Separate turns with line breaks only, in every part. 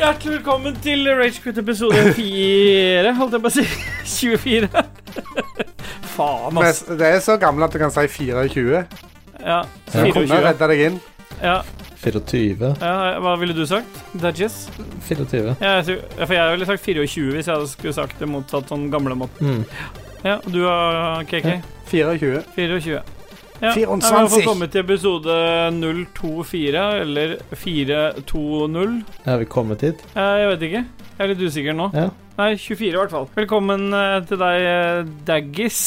Hjertelig velkommen til Ragequit episode 4, holdt jeg på å si. 24. Faen, ass.
Men det er så gammel at du kan si 24.
Ja,
Du kunne
24.
redda deg inn.
Ja,
24.
ja, hva ville du sagt? Dudges?
24.
Ja, jeg tror- ja, for jeg ville sagt 24 hvis jeg hadde skulle sagt det motsatt sånn gamlemåten.
Mm.
Ja, og du eh, har KK?
24.
24. Ja, vi har
24.
fått kommet til episode 024, eller 420.
Er vi kommet hit?
Eh, Jeg vet ikke. Jeg er litt usikker nå.
Ja.
Nei, 24 i hvert fall. Velkommen eh, til deg, eh, Daggis.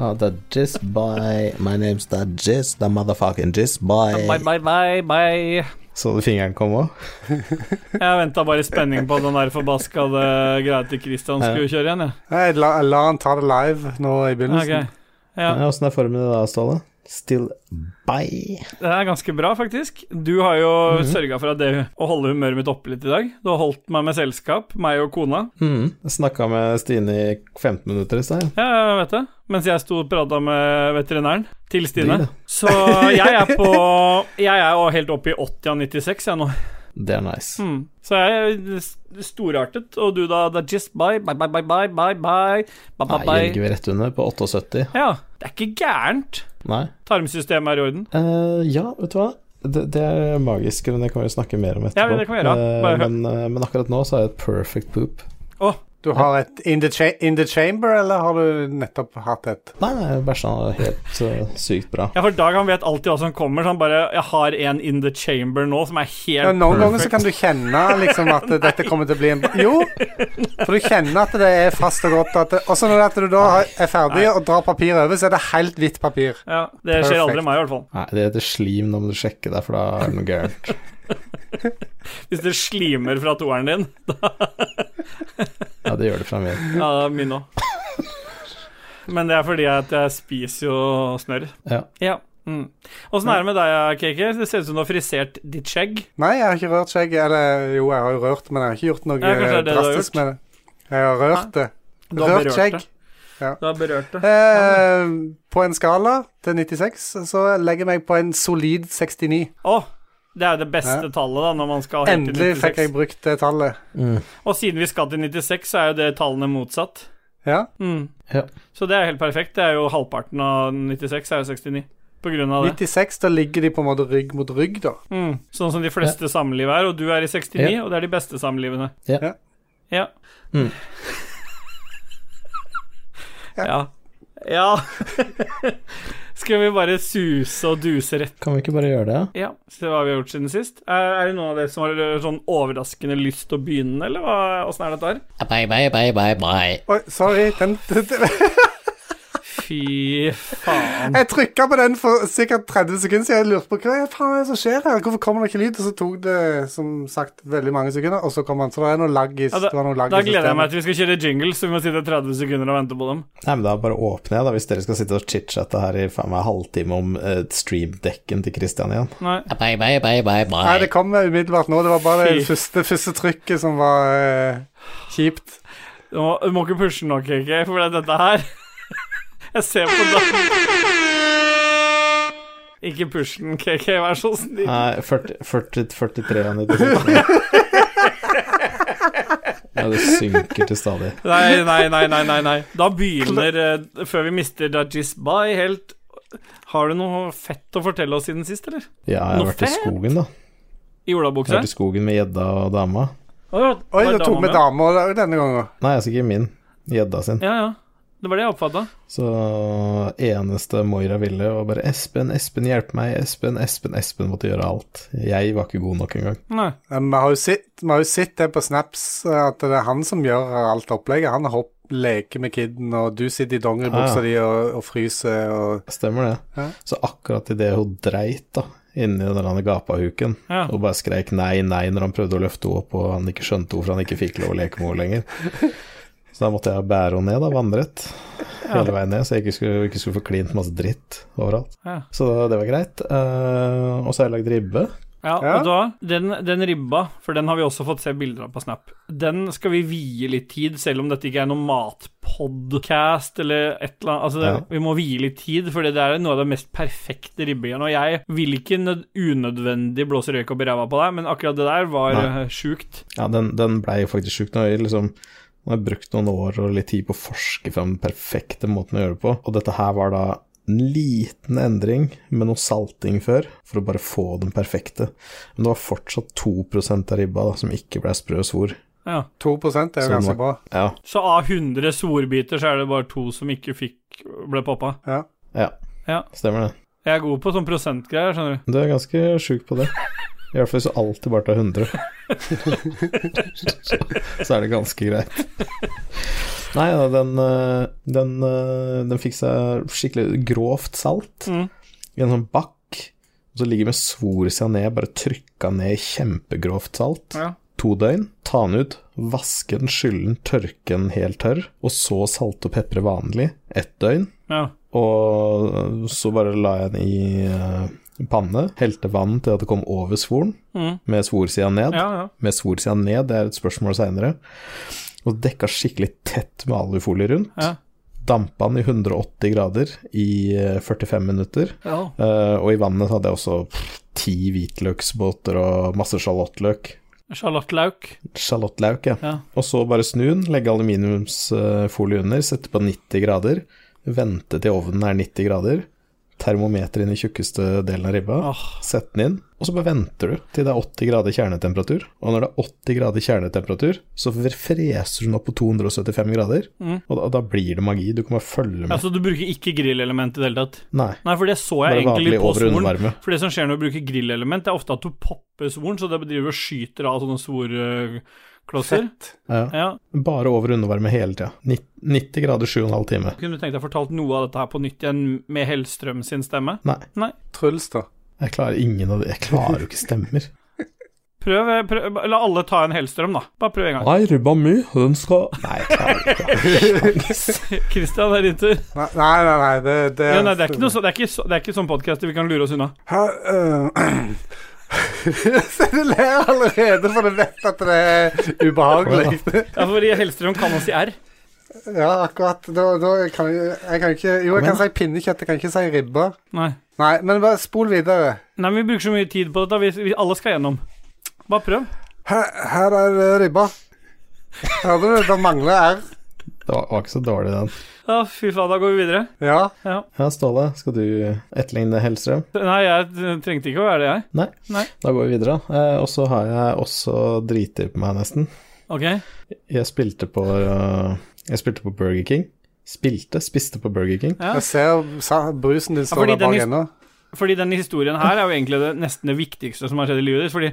Ah, the Jizz Boy. My name's The Jizz, the motherfucking Jizz
Bye,
Boy.
bye, bye, bye.
Så du fingeren kom òg?
Jeg venta bare i spenning på at den der forbaskede greia til Christian skulle kjøre igjen, jeg.
Nei, la, la han ta det live nå i begynnelsen.
Ok. Ja,
Åssen er formen i dag, Ståle? Still by.
det er ganske bra, faktisk. Du har jo
Mhm.
sørga for at det å holde humøret mitt oppe litt i dag. Du har holdt meg med selskap, meg og kona.
Mm. Jeg Snakka med Stine i 15 minutter i stad.
Ja, jeg vet det. Mens jeg sto og prata med veterinæren til
Digg,
Stine.
da.
Så jeg er på Jeg er jo helt oppe i 80 av 96, jeg nå.
Det er nice.
Mm. Så jeg er s- storartet. Og du da, da just bye, bye, bye, bye, bye, bye, bye, bye,
Nei,
bye,
jeg
bye.
ligger vi rett under på 78?
Ja, det er ikke gærent.
Nei.
Tarmsystemet er i orden.
Eh, ja, vet du hva? Det, det er magisk, men det kan vi snakke mer om etterpå.
Ja, men det kan vi gjøre.
Eh,
Bare hør.
men, eh, men akkurat nå så er det et perfect poop.
Å,
Du har et in the, cha in the chamber, eller har du nettopp hatt et?
Nei, nei, bæsja helt eh, sykt bra.
ja, for Dag han vet alltid hva som kommer, så han bare Jeg har en in the chamber nå som er helt
Ja, noen ganger så
perfect.
kan du kjenne liksom at dette kommer til å bli en Jo, for du kjenner at det er fast og godt. At det, også når det at du da har- er ferdig og drar papiret over, så er det helt hvitt papir.
Ja, Det skjer aldri
Perfect.
meg, i hvert fall.
Nei, det heter slim, da må du sjekke deg, for da er det noe gærent.
Hvis det slimer fra toeren din.
Ja, det gjør det fra min.
Ja, det er min òg. Men det er fordi at jeg spiser jo snørr.
Ja.
Ja. Mm. Åssen er det med deg, KK? Det ser ut som du har frisert ditt skjegg.
Nei, jeg har ikke rørt skjegg. Eller jo, jeg har jo rørt, men jeg har ikke gjort noe
Ja, kanskje det er det du har
drastisk med det. Jeg har rørt det.
Du har
Rørt
berørt
skjegg.
det. Du har berørt det.
Eh, på en skala til 96 så legger jeg meg på en solid 69.
Å, det er jo det beste
Ja.
tallet, da, når man skal helt til
Endelig fikk jeg
96.
brukt det tallet.
Mm.
Og siden vi skal til 96, så er jo det tallene motsatt.
Ja.
Mm.
Ja.
Så det er helt perfekt. Det er jo halvparten av 96, er jo 69. På grunn av det.
96, da ligger de på en måte rygg mot rygg, da.
Mm. Sånn som de fleste samliv er, og du er i 69,
Ja.
og det er de beste samlivene.
Ja.
Ja.
Ja.
Mm.
ja. ja. Skal vi bare suse og duse rett
Kan vi ikke bare gjøre det?
Ja, se hva vi har gjort siden sist. Er, er det noen av dere som har eh, sånn overraskende lyst til å begynne, eller hva, åssen er dette her?
Bye, bye, bye, bye, bye.
Oi, sorry. Den,
Fy faen.
jeg trykka på den for sikkert 30 sekunder siden. Jeg lurte på hva faen er det som skjer her. Hvorfor kommer det ikke lyd? Og så tok det som sagt veldig mange sekunder, og så kom han. Så det er noe lagg i,
Ja, da,
det var noe lagg
da
i
gleder jeg meg
systemet.
til vi skal kjøre jingle, så vi må sitte 30 sekunder og vente på dem.
Nei, men da bare åpner jeg, da, hvis dere skal sitte og chit-chatte her i faen meg halvtime om eh, streamdekken til Christian igjen.
Nei.
Bye, bye, bye, bye,
Nei, det kom umiddelbart nå. Det var bare det
Fy.
første, første trykket som var eh, kjipt.
Du må, du må ikke pushe nå, KK, for det er dette her Jeg ser på deg. Ikke push den, KK, vær så snill.
Nei, 40, 40, 43 av 96. Ja, det synker til stadig.
Nei, nei, nei, nei, nei, nei. Da begynner eh, Før vi mister Dajis Bye helt Har du noe fett å fortelle oss siden sist, eller?
Ja, jeg har
Noe
vært i
fett.
skogen, da.
I
Jeg har
olabukse?
vært i skogen med gjedda og dama.
Oi,
Oi, da tok vi dama da- denne gangen.
Nei, altså ikke min. Gjedda sin.
Ja, ja. Det var det jeg oppfatta.
Så eneste Moira ville var bare 'Espen, Espen, hjelp meg', 'Espen, Espen, Espen' måtte gjøre alt. Jeg var ikke god nok engang.
Nei.
Eh, Vi har jo sett, vi har jo sett det på Snaps, eh, at det er han som gjør alt opplegget. Han hopp, leker med kiden, og du sitter i dongeribuksa
Ah, ja.
di og, og fryser. Og
Stemmer det.
Ja.
Så akkurat idet hun dreit da, inni den der gapahuken
Ja.
og bare skreik nei, nei når han prøvde å løfte henne opp og han ikke skjønte hvorfor han ikke fikk lov å leke med henne lenger. Så da måtte jeg bære henne ned, da, vannrett hele veien ned, så jeg ikke skulle, ikke skulle få klint masse dritt overalt.
Ja.
Så det var greit. Eh, og så har jeg lagd ribbe.
Ja,
Ja.
og da, den, den ribba, for den har vi også fått se bilder av på Snap, den skal vi vie litt tid, selv om dette ikke er noen matpodcast eller et eller annet. Altså, det-
Ja.
Vi må vie litt tid, for det er noe av det mest perfekte ribbingen. Og jeg vil ikke nød unødvendig blåse røyk opp i ræva på deg, men akkurat det der var
Nei.
eh, sjukt.
Ja, den, den blei jo faktisk sjuk. Nå har jeg liksom nå har jeg brukt noen år og litt tid på å forske fram den perfekte måten å gjøre det på. Og dette her var da en liten endring med noe salting før, for å bare få den perfekte. Men det var fortsatt 2 av ribba da, som ikke blei sprø svor.
Ja.
2 er jo
Sånn
ganske
var-
bra.
Ja,
Så av 100 svorbiter, så er det bare to som ikke fikk ble poppa.
Ja.
ja.
Ja.
Stemmer det.
Jeg er god på sånn prosentgreier, skjønner du.
Du er ganske sjuk på det. I hvert fall hvis du alltid bare tar 100. så er det ganske greit. Nei da, den, eh, den, eh, den fikk seg skikkelig grovt salt
Mm.
i en sånn bakk. Og så ligger med svor seg ned, bare trykka ned i kjempegrovt salt.
Ja.
To døgn. Ta den ut, vaske den, skylle den, tørke den helt tørr. Og så salte og pepre vanlig. Ett døgn.
Ja.
Og så bare la jeg den i eh, panne, helte vann til at det kom over svoren,
Mm.
med svorsida ned.
ja, ja.
Med svorsida ned, det er et spørsmål seinere. Og dekka skikkelig tett med alufolie rundt.
Ja.
Dampa den i 180 grader i eh, 45 minutter.
ja.
Eh, og i vannet så hadde jeg også pff, ti hvitløksbåter og masse sjalottløk.
Sjalottløk.
Sjalottlauk, ja.
Ja.
Og så bare snu den, legge aluminiumsfolie under, sette på 90 grader, vente til ovnen er 90 grader, termometer inn i tjukkeste delen av ribba,
Åh.
sett den inn, og så bare venter du til det er 80 grader kjernetemperatur. Og når det er 80 grader kjernetemperatur, så freser hun opp på 275 grader,
Mm.
og da, da blir det magi. Du kan bare følge med.
Altså, du bruker ikke grillelement i det hele tatt?
Nei,
Nei, for det så jeg
bare
egentlig
vanlig
på
over- og
svoren.
undervarme.
For det som skjer når du bruker grillelement, det er ofte at du popper svoren, så det driver og skyter av sånne svorklosser.
Ja.
Ja.
Bare over og undervarme hele tida. 90 grader 7,5 time.
Kunne du tenkt deg fortalt noe av dette her på nytt igjen med Hellstrøm sin stemme?
Nei,
Truls, da.
jeg klarer ingen av de Jeg klarer jo ikke stemmer.
Prøv, eh, prøv La alle ta en Hellstrøm, da. Bare prøv en gang.
Nei, ribba mi, den skal Nei, jeg klarer det ikke.
Christian, det er din tur.
Nei, nei, nei. nei, det, det,
Ja, nei, det er ikke noe så, det er ikke, så, det er ikke sånn podkast vi kan lure oss unna.
Hæ, øh, Så du ler allerede, for du vet at det er ubehagelig.
Ja, for i Hellstrøm kan man si R.
Ja, akkurat. Da, da kan jeg, jeg kan ikke Jo, jeg kan si pinnekjøtt, jeg kan ikke si ribbe.
Nei.
Nei, men bare spol videre.
Nei, men vi bruker så mye tid på dette. Vi, vi, alle skal gjennom. Bare prøv.
Her, her er eh, ribba. Hørte du? Det mangler R.
Det var, var ikke så dårlig, den.
Ja, fy faen, da går vi videre.
Ja.
Ja.
Ja, Ståle, skal du etterligne Hellstrøm?
Nei, jeg trengte ikke å være det, jeg.
Nei.
Nei.
Da går vi videre. Eh, og så har jeg også driti på meg, nesten.
Ok.
Jeg spilte på eh, Jeg spilte på Burger King. Spilte, spiste på Burger King.
Ja.
Jeg ser sa- brusen din står
fordi
der bak
den his-
ennå.
Fordi denne historien her er jo egentlig det, nesten det viktigste som har skjedd i livet ditt. Fordi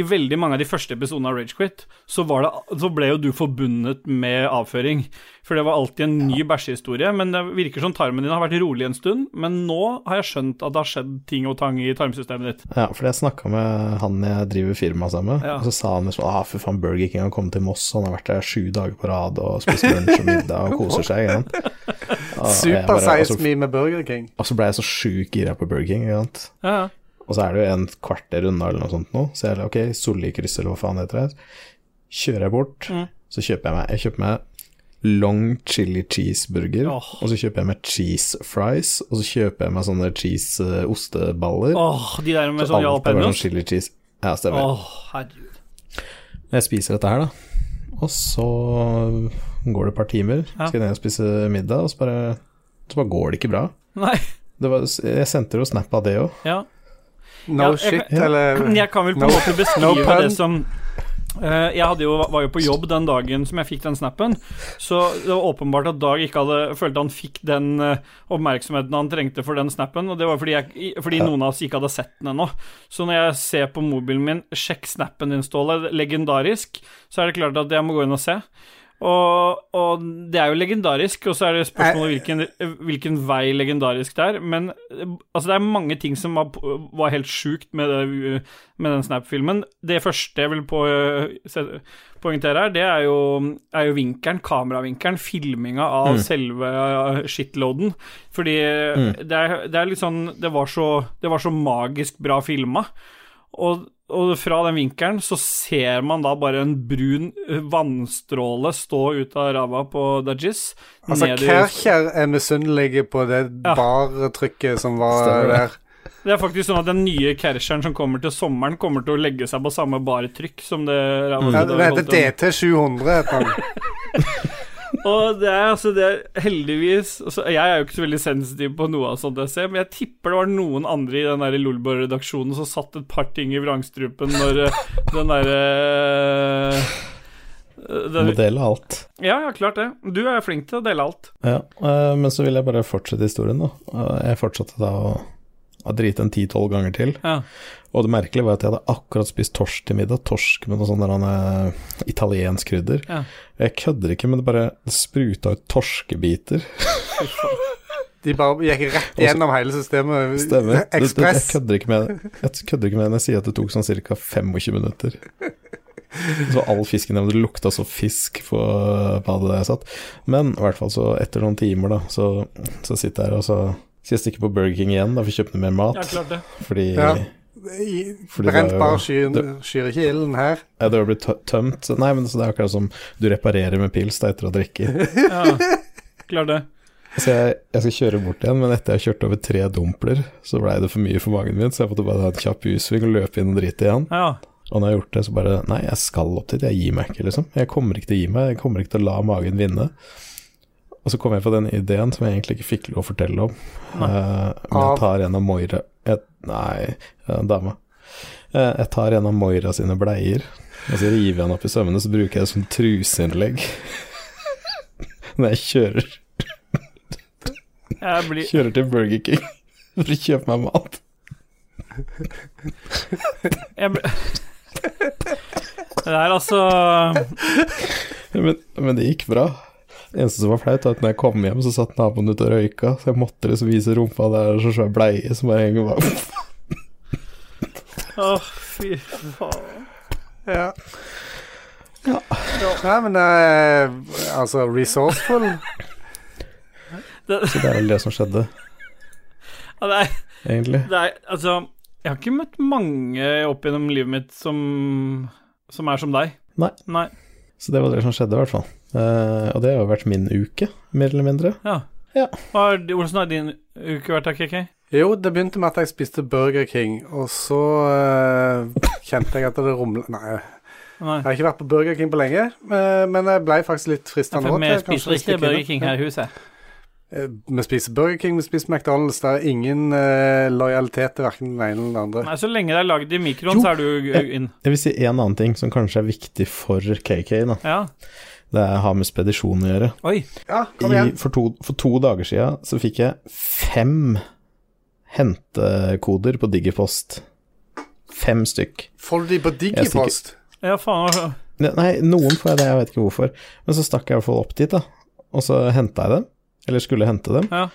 i veldig mange av de første episodene av Ragequit, så, var det- så ble jo du forbundet med avføring. For det var alltid en ny bæsjehistorie. Men det virker som tarmen din har vært rolig en stund. Men nå har jeg skjønt at det har skjedd ting og tang i tarmsystemet ditt.
Ja, fordi jeg snakka med han jeg driver firma sammen med,
Ja.
og så sa han liksom ah, fy faen, Burger King har kommet til Moss, han har vært der sju dager på rad og spist lunsj og middag og koser seg. Ikke sant? Og jeg Altså-
Super
bare- og
size
så-
me med Burger King.
Og så ble jeg så sjukt gira på Burger King. Ikke sant?
Ja, ja.
Og så er det jo en kvarter unna eller noe sånt nå, så jeg ok, Sollikrysset eller hva faen det heter det. Kjører jeg bort, så kjøper jeg meg Jeg kjøper meg long chili cheeseburger,
Åh.
og så kjøper jeg meg cheese fries, og så kjøper jeg meg sånne cheese eh, osteballer.
Åh, de der med
Så
sånn
alt er bare
jalapeños.
sånn chili cheese. Ja, stemmer.
Åh, herregud.
Jeg spiser dette her, da. Og så går det et par timer,
Ja.
skal jeg ned og spise middag, og så bare, så bare går det ikke bra.
Nei.
Det var, jeg sendte jo snap av det òg.
Ja.
No
Ja, jeg-
shit, eller
Jeg kan vel på en
No-
måte
no
beskrive
pun.
det som eh, Jeg hadde jo, var jo på jobb den dagen som jeg fikk den snappen, så det var åpenbart at Dag ikke hadde følte han fikk den eh, oppmerksomheten han trengte for den snappen, og det var fordi, jeg, i- fordi
Ja.
noen av oss ikke hadde sett den ennå. Så når jeg ser på mobilen min 'Sjekk snappen din, Ståle', legendarisk, så er det klart at jeg må gå inn og se. Og, og det er jo legendarisk, og så er det spørsmålet hvilken, hvilken vei legendarisk det er. Men eh, altså, det er mange ting som var, var helt sjukt med, det, med den Snap-filmen. Det første jeg vil på, se- poengtere her, det er jo, er jo vinkelen, kameravinkelen, filminga av selve eh, shitloaden. Fordi det, er, det er litt sånn Det var så, det var så magisk bra filma. Og Og fra den vinkelen så ser man da bare en brun eh, vannstråle stå ut av ræva på Dajis.
Altså,
ned i-
Kercher er misunnelig på det
Ja.
bartrykket som var
Stemmer det.
der.
Det er faktisk sånn at den nye Kersheren som kommer til sommeren, kommer til å legge seg på samme bartrykk som det ræva.
Mm. Ja, det heter DT700. heter den.
Og det er altså det er heldigvis altså, Jeg er jo ikke så veldig sensitiv på noe av sånt jeg ser, men jeg tipper det var noen andre i den der Lolbua-redaksjonen som satt et par ting i vrangstrupen når eh, den eh, derre
Må dele alt.
Ja, ja, klart det. Du er flink til å dele alt.
Ja, eh, men så vil jeg bare fortsette historien, da. Eh, Jeg fortsatte da å, å drite en ti-tolv ganger til.
Ja.
Og det merkelige var at jeg hadde akkurat spist torsk til middag. Torsk med noe sånn der han, eh, italiensk krydder.
Ja.
Jeg kødder ikke, men det bare spruta ut torskebiter.
De bare gikk rett gjennom hele systemet.
Stemmer. Det- det-
Ekspress.
Jeg kødder ikke med det. Jeg kødder ikke med det når jeg sier at det tok sånn ca. 25 minutter. Så all fisken der, det lukta så fisk på badet der jeg satt. Men i hvert fall så etter noen timer, da, så, så sitter jeg her og så skal jeg stikke på Burger King igjen da, for å kjøpe noe mer mat.
ja, klart det.
Fordi
Ja.
Fordi det er
Brent
jo-
bar skyr,
det-
skyr ikke ilden her.
jeg hadde blitt tø- tømt. Så, nei, men så det er akkurat som du reparerer med pils da, etter å drikke.
Ja. Klart det.
Så jeg, jeg skal kjøre bort igjen, men etter jeg har kjørt over tre dumpler, så blei det for mye for magen min, så jeg måtte bare ta en kjapp U-sving og løpe inn og drite igjen.
Ja.
Og når jeg har gjort det, så bare Nei, jeg skal opp dit, jeg gir meg ikke, liksom. Jeg kommer ikke til å gi meg, jeg kommer ikke til å la magen vinne. Og så kom jeg på den ideen som jeg egentlig ikke fikk lov å fortelle om. Eh, men
Av?
jeg tar en av Moira jeg, Nei, eh, dama. Eh, jeg tar en av Moira sine bleier, og så river jeg den opp i sømmene, så bruker jeg det som truseinnlegg. når jeg kjører,
Jeg blir
kjører til Burger King for å kjøpe meg mat.
jeg blir- Det er altså
Men, men det gikk bra. Det eneste som var flaut, var at når jeg kom hjem, så satt naboen ute og røyka, så jeg måtte liksom vise rumpa der så svær bleie som bare henger bak.
Å, fy faen.
Ja. Nei, men eh, altså Resourceful
Så det er vel det som skjedde,
Ja, det er
egentlig.
Det er, altså, jeg har ikke møtt mange opp gjennom livet mitt som, som er som deg.
Nei. Så det var det som skjedde, i hvert fall. Eh, og det har jo vært min uke, mer eller mindre.
Ja.
Ja.
Hva har- hvordan har din uke vært, da, KK?
Jo, det begynte med at jeg spiste Burger King, og så eh, kjente jeg at det rumla Nei,
Nei.
jeg har ikke vært på Burger King på lenge, eh, men jeg ble faktisk litt
Ja,
fristende
for Vi
til kanskje
spiser
vi skal
ikke Burger
kidnappe-
King her i huset.
Eh, Vi spiser Burger King, vi spiser McDonald's. Det er ingen eh, lojalitet til verken den ene eller den andre.
Nei, Så lenge det er lagd i mikroen,
Jo.
så er du g- inn.
Jeg vil si en annen ting som kanskje er viktig for KK, da.
Ja.
Det er- har med spedisjon å gjøre.
Oi.
Ja, kom
I,
igjen.
for, to, for to dager siden så fikk jeg fem hentekoder på Digipost. Fem stykk.
Får du de på Digipost?
Ja, faen. hva-
Ne- Nei, noen får jeg det, jeg vet ikke hvorfor. Men så stakk jeg i hvert fall opp dit, da. Og så henta jeg dem. Eller skulle hente dem.
Ja.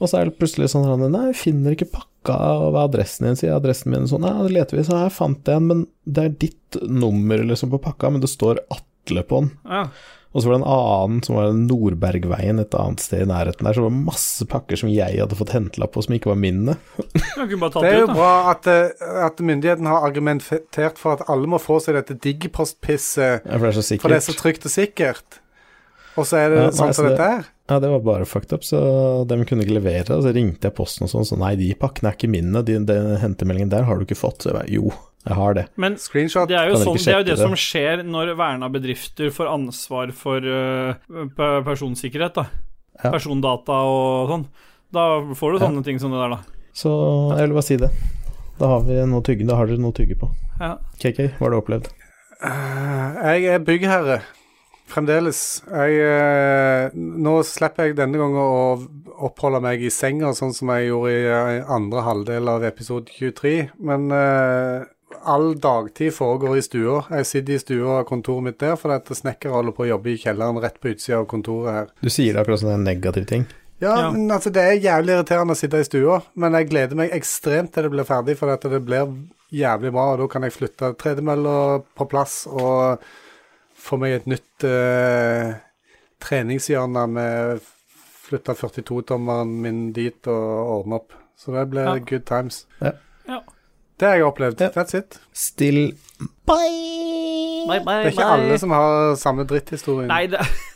Og så er det plutselig sånn her, Nei, jeg finner ikke pakka, og hva er adressen din? Sier jeg adressen min? Sånn, nei, det leter vi, så her fant jeg en, men det er ditt nummer liksom på pakka, men det står Atle på den.
Ja.
Og så var det en annen som var den Nordbergveien, et annet sted i nærheten der, så var det masse pakker som jeg hadde fått hentla på, som ikke var mine.
Du kunne bare tatt
Det er
det
jo
ut, da.
bra at, eh, at myndighetene har argumentert for at alle må få seg dette Digipost-pisset,
For det er så
for det er
sikkert.
så trygt og sikkert. Og så er det
Ja, nei,
sånn som
så det-
dette er.
Ja, det var bare fucked up, så de kunne ikke levere. Og så ringte jeg posten og sånn, så nei, de pakkene er ikke mine, de, den hentemeldingen der har du ikke fått. Så jeg bare, jo, jeg har det.
Men
Screenshot.
Det er jo,
Kan dere
sånn,
ikke
det, er jo
sjekke
det som
det?
skjer når verna bedrifter får ansvar for øh, pe- personsikkerhet, da.
Ja.
Persondata og sånn. Da får du
Ja.
sånne ting som det der, da.
Så jeg ville bare si det. Da har vi noe å tygge, da har dere noe å tygge på.
Ja.
KK, hva har du opplevd?
Eh, Jeg er byggherre fremdeles. Jeg, eh, nå slipper jeg denne gangen å oppholde meg i senga, sånn som jeg gjorde i eh, andre halvdel av episode 23. Men eh, all dagtid foregår i stua. Jeg sitter i stua og har kontoret mitt der, for at snekkere holder på å jobbe i kjelleren rett på utsida av kontoret her.
Du sier det akkurat som det er en negativ ting.
Ja,
Ja.
men altså det er jævlig irriterende å sitte i stua, men jeg gleder meg ekstremt til det blir ferdig, for at det blir jævlig bra, og da kan jeg flytte tredemølla på plass og få meg et nytt eh, treningshjørne med flytta 42-tommeren min dit og ordne opp. Så det blir
Ja.
good times.
Ja.
Det har jeg opplevd.
Ja.
That's it.
Still Bye!
Bye, bye,
Det er ikke
bye.
alle som har samme dritthistorien.
Nei, det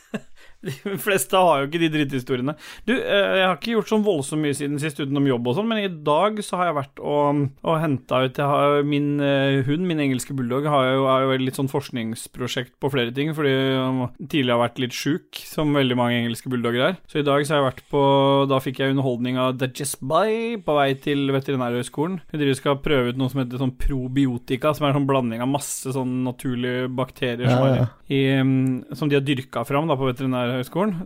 De fleste har jo ikke de dritthistoriene. Du, eh, jeg har ikke gjort sånn voldsomt mye siden sist utenom jobb og sånn, men i dag så har jeg vært og, og henta ut jeg har, Min eh, hund, min engelske bulldog, har jo, er jo et litt sånn forskningsprosjekt på flere ting, fordi han tidligere har vært litt sjuk, som veldig mange engelske bulldogger er. Så i dag så har jeg vært på Da fikk jeg underholdning av Dajisby på vei til veterinærhøgskolen. Hun driver og skal prøve ut noe som heter sånn probiotika, som er en sånn blanding av masse sånn naturlige bakterier som
Ja,
er
ja.
i i, um, som de har dyrka fram da, på veterinærhøgskolen.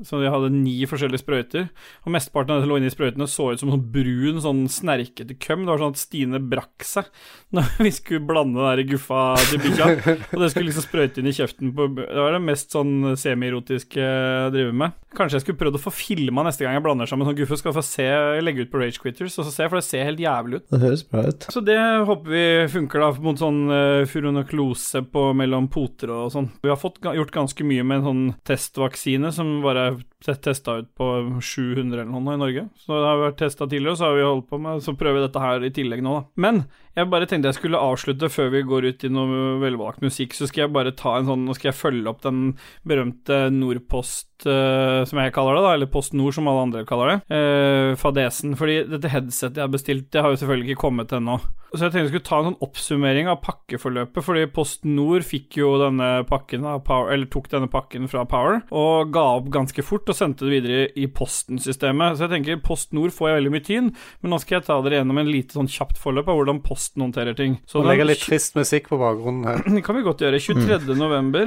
Så de hadde ni forskjellige sprøyter. Og mesteparten av det som lå inni sprøytene, så ut som sånn brun, sånn snerkete køm. Det var sånn at Stine brakk seg når vi skulle blande den der guffa til bikkja. Og det skulle liksom sprøyte inn i kjeften på Det var det mest sånn semierotiske jeg driver med. Kanskje jeg skulle prøvd å få filma neste gang jeg blander sammen sånn guffe, skal jeg få se, legge ut på Rage Quitters, og så se, for det ser helt jævlig ut.
Det høres bra ut.
Så det håper vi funker da mot sånn uh, furonoklose på, mellom poter og sånn. Vi har fått, ga- gjort ganske mye med en sånn testvaksine som bare er testa ut på 700 eller noe nå i Norge. Så det har vært testa tidligere, og så har vi holdt på med Så prøver vi dette her i tillegg nå, da. Men jeg bare tenkte jeg skulle avslutte før vi går ut i noe velvalgt musikk, så skal jeg bare ta en sånn Nå skal jeg følge opp den berømte Nordpost, eh, som jeg kaller det, da, eller Post Nord, som alle andre kaller det, eh, fadesen. Fordi dette headsetet jeg har bestilt, det har jo selvfølgelig ikke kommet ennå. Så jeg tenkte jeg skulle ta en sånn oppsummering av pakkeforløpet, fordi Post Nord fikk jo denne pakken av Power, eller tok denne pakken fra Power, og ga opp ganske fort og sendte det videre i Posten-systemet. Så jeg tenker Post Nord får jeg veldig mye tyn, men nå skal jeg ta dere gjennom en lite sånn kjapt forløp av hvordan Posten håndterer ting. Så
Må
den
legge litt trist musikk på bakgrunnen her.
det kan vi godt
Mm.
gjøre. 23. november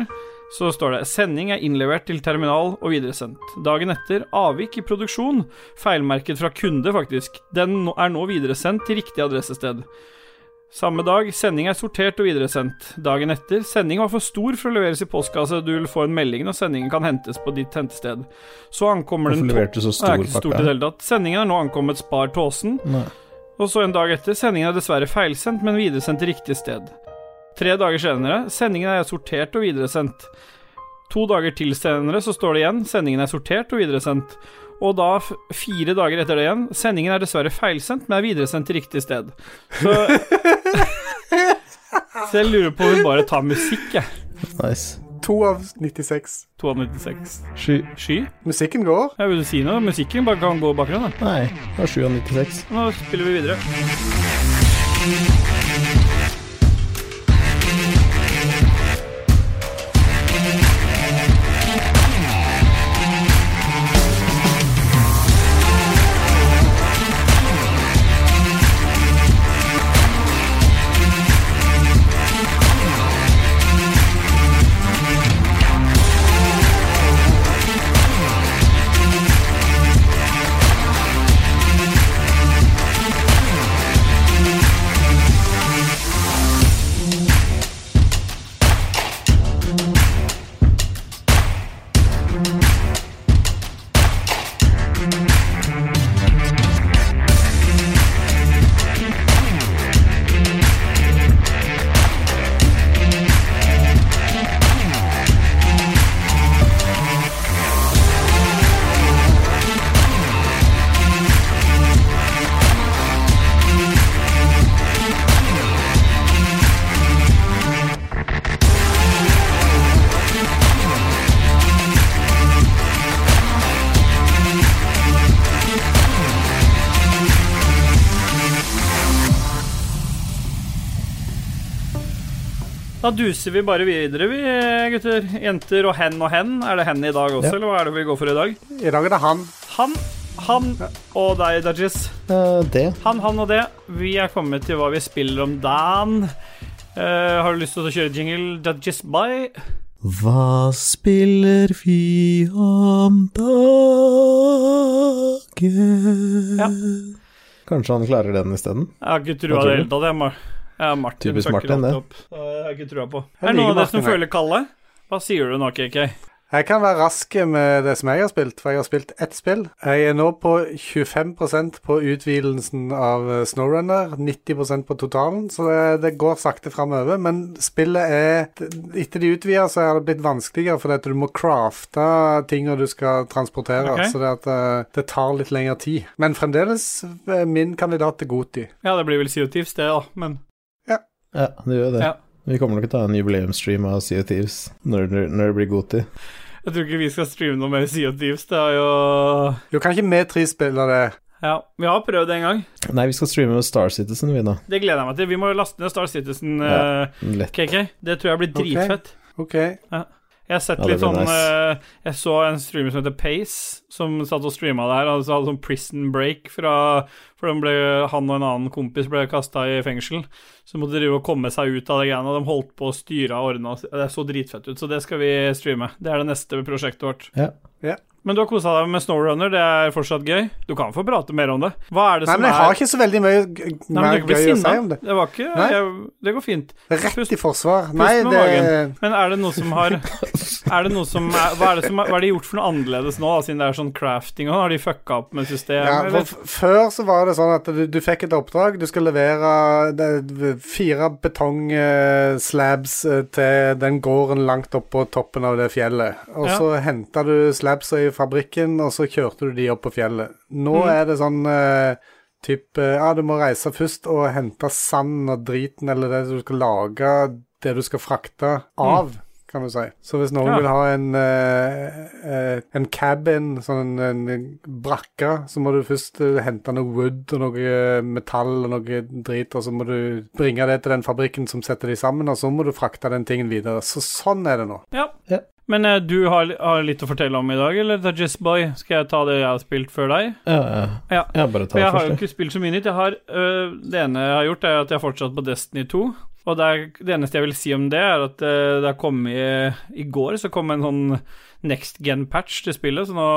så står det 'Sending er innlevert til terminal og videresendt'. Dagen etter 'Avvik i produksjon'. Feilmerket fra kunde, faktisk. Den nå- er nå videresendt til riktig adressested. Samme dag 'Sending er sortert og videresendt'. Dagen etter 'Sending var for stor for å leveres i postkasse'. Du vil få en melding når sendingen kan hentes på ditt hentested. Så ankommer den
Hvorfor
to-
leverte du så
Det er
stor
ikke så stort i det
pakke?
hele tatt. Sendingen er nå ankommet Spar Tåsen.
Nei.
Og så en dag etter, sendingen er dessverre feilsendt, men videresendt til riktig sted. Tre dager senere, sendingen er sortert og videresendt. To dager til senere så står det igjen, sendingen er sortert og videresendt. Og da, f- fire dager etter det igjen, sendingen er dessverre feilsendt, men er videresendt til riktig sted. Så Så jeg lurer på om vi bare tar musikk, jeg.
Nice.
To av 96.
296.
Sju
Sky?
Musikken går.
Jeg vil si noe. Musikken bare kan gå i bakgrunnen. da.
Nei, det var 7 av 96.
Nå spiller vi videre. Da duser vi bare videre, vi gutter. Jenter og hen og hen. Er det hen i dag også,
Ja.
eller hva er det vi går for i dag?
I dag er det han.
Han, han og deg, Dajis.
Eh, det.
Han, han og det. Vi er kommet til hva vi spiller om dagen. Eh, har du lyst til å kjøre jingle Dajis by?
Hva spiller vi om dagen?
Ja.
Kanskje han klarer den isteden?
Jeg har ikke trua
Hva
i
tror
det
du?
hele tatt. jeg, Mar- Jeg er Martin.
Typisk
fucker
Martin,
alt
det.
opp. Så Jeg har ikke trua på.
Jeg
Er det noen
liker
av dere som
Martin, jeg.
føler kallet? Hva sier du nå, KK?
Jeg kan være rask med det som jeg har spilt, for jeg har spilt ett spill. Jeg er nå på 25 på utvidelsen av eh, Snowrunner, 90 på totalen, så det, det går sakte framover. Men spillet er d- Etter de utvida, så har det blitt vanskeligere, fordi at du må crafte tinga du skal transportere.
Ok.
Så det, at, eh, det tar litt lengre tid. Men fremdeles eh, min kandidat til Goti.
Ja, det blir vel CO2 det, da, men
Ja, det gjør det.
Ja.
Vi kommer nok til å ha en jubileumsstream av Sea of Thieves når, når, når det blir god tid.
Jeg tror ikke vi skal streame noe mer Sea of Thieves. Det er jo
Jo, kan ikke vi tre spille det?
Ja, vi har prøvd det en gang.
Nei, vi skal streame med Star Citizen, vi, da.
Det gleder jeg meg til. Vi må jo laste ned Star Citizen,
Ja.
eh,
Lett.
KK. Det tror jeg blir
Ok.
dritfett.
OK.
Jeg har sett
Ja, det
litt
blir
sånn
nice.
eh, Jeg så en streamer som heter Pace, som satt og streama det her. Han hadde sånn prison break fra For de ble, han og en annen kompis ble kasta i fengsel. Så de måtte de jo komme seg ut av det greiene. og De holdt på å styre og ordne. og Det så dritfett ut, så det skal vi streame. Det er det neste prosjektet vårt.
Ja.
Ja.
Men du har kosa deg med Snowrunner, det er fortsatt gøy. Du kan få prate mer om det. Hva er det
Nei,
som
men jeg har
er
ikke så veldig mye g-
Nei, men
mer
du kan ikke
gøy
bli
å si om
sinna.
det.
Det var ikke
Nei.
jeg, Det går fint.
Rett
Pust-
i forsvar. Nei,
med
det
Men er det noe som har Er det noe som er, Hva er det som er, Hva er det gjort for noe annerledes nå, da, siden det er sånn crafting og sånn? Har de fucka opp med systemet?
ja, for
eller?
f- Før så var det sånn at du, du fikk et oppdrag. Du skal levere det, fire betongslabs eh, til den gården langt opp på toppen av det fjellet. Og
Ja.
så henta du slabsa i fabrikken, og så kjørte du de opp på fjellet. Nå
Mhm.
er det sånn eh, typ eh, Ja, du må reise først og hente sand og driten eller det du skal lage, det du skal frakte av. Kan du si. Så hvis
Mm.
noen
Ja.
vil ha en, eh, eh, en cabin, sånn en, en brakke, så må du først eh, hente noe wood og noe eh, metall og noe drit, og så må du bringe det til den fabrikken som setter de sammen, og så må du frakte den tingen videre. Så sånn er det nå.
ja.
Ja.
Men eh, du har, har litt å fortelle om i dag, eller Tajisboy? Skal jeg ta det jeg har spilt før deg?
Ja, ja.
Ja.
ja bare ta
For
det
jeg har jo
først.
ikke spilt så mye nytt. Jeg har, øh, det ene jeg har gjort, er at jeg har fortsatt på Destiny 2. Og det, er, det eneste jeg vil si om det, er at øh, det har kommet I går så kom en sånn next gen-patch til spillet, så nå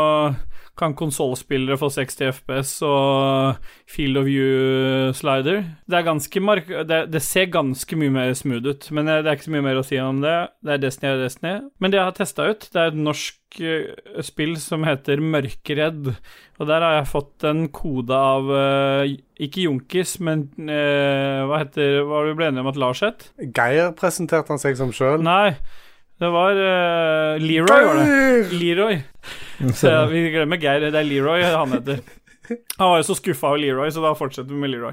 kan konsollspillere få 60 FPS og field of view-slider. Det, er ganske mark det, det ser ganske mye mer smooth ut, men eh, det er ikke så mye mer å si om det. Det er Destiny er Destiny. Men det jeg har testa ut, det er et norsk eh, spill som heter Mørkeredd. Og der har jeg fått en kode av eh, Ikke Junkis, men eh, hva heter Hva var det vi ble enige om at Lars het?
Geir presenterte han seg som sjøl.
Nei, det var eh, Leroy, var det. Leroy. Så ja, vi glemmer Geir, det er Leroy han heter. Han var jo så skuffa over Leroy, så da fortsetter vi med Leroy.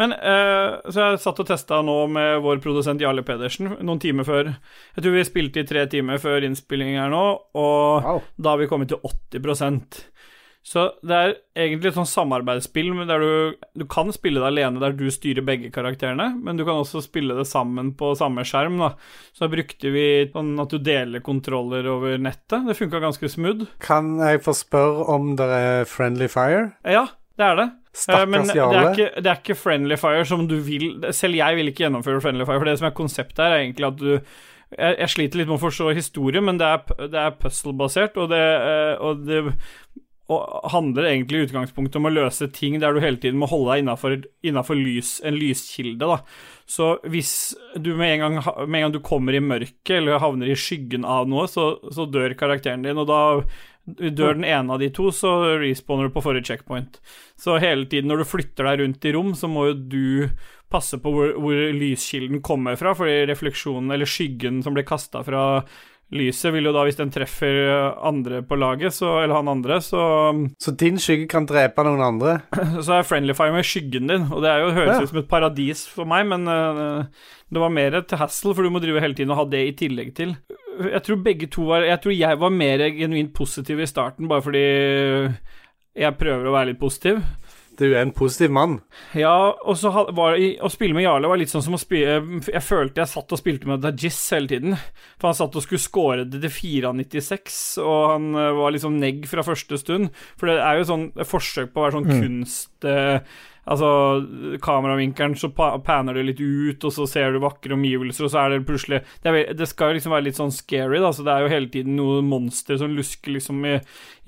Men eh, Så jeg satt og testa nå med vår produsent Jarle Pedersen noen timer før. Jeg tror vi spilte i tre timer før innspilling her nå, og
Wow.
da har vi kommet til 80 Så det er egentlig et sånn samarbeidsspill men der du, du kan spille det alene, der du styrer begge karakterene, men du kan også spille det sammen på samme skjerm. da. Så da brukte vi sånn at du deler kontroller over nettet. Det funka ganske smooth.
Kan jeg få spørre om det er friendly fire?
Ja, det er det. Eh, Men
Stakkars
det er,
Jarle.
ikke, det er ikke Friendly Fire som du vil Selv jeg vil ikke gjennomføre Friendly Fire, for det som er konseptet her, er egentlig at du jeg, jeg sliter litt med å forstå historie, men det er, p- det er puzzle-basert, og det, eh, og det og handler egentlig i utgangspunktet om å løse ting der du hele tiden må holde deg innafor, lys, en lyskilde, da. Så hvis du med en, gang, ha- med en gang du kommer i mørket eller havner i skyggen av noe, så, så dør karakteren din, og da
Mm.
dør den ene av de to, så respawner du på forrige checkpoint. Så hele tiden når du flytter deg rundt i rom, så må jo du passe på hvor, hvor lyskilden kommer fra, fordi refleksjonen eller skyggen som blir kasta fra lyset, vil jo da, hvis den treffer eh, andre på laget, så, eller han andre, så,
Så din skygge kan drepe noen andre?
så er friendly fire med skyggen din. Og det er jo, høres
Ja.
ut som et paradis for meg, men eh, det var mer et hassle, for du må drive hele tiden og ha det i tillegg til. Jeg tror begge to var Jeg tror jeg var mer genuint positiv i starten, bare fordi jeg prøver å være litt positiv.
Du er en positiv mann.
Ja, og så ha- var i- Å spille med Jarle var litt sånn som å spille Jeg følte jeg satt og spilte med Dajis hele tiden. For han satt og skulle score det til 4,96, og han eh, var liksom negg fra første stund. For det er jo sånn forsøk på å være sånn kunst eh, Altså, kameravinkelen, så pa- panner det litt ut, og så ser du vakre omgivelser, og så er det plutselig Det, er, ve- det skal jo liksom være litt sånn scary, da, så det er jo hele tiden noen monstre som lusker liksom i,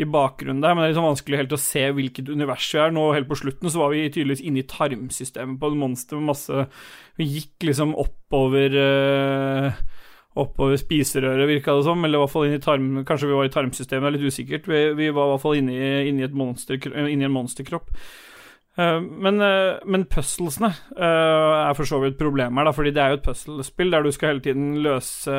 i bakgrunnen der, men det er liksom vanskelig helt å se hvilket univers vi er. Nå helt på slutten så var vi tydeligvis inne i tarmsystemet på et monster med masse Vi gikk liksom oppover eh, oppover spiserøret, virka det som, eller i hvert fall inn i tarm... Kanskje vi var i tarmsystemet, det er litt usikkert. Vi, vi var i hvert fall inni, inni, et monster, inni en monsterkropp. Eh, men, eh, men puzzlesene eh, er for så vidt et problem her, da, fordi det er jo et puzzlespill der du skal hele tiden løse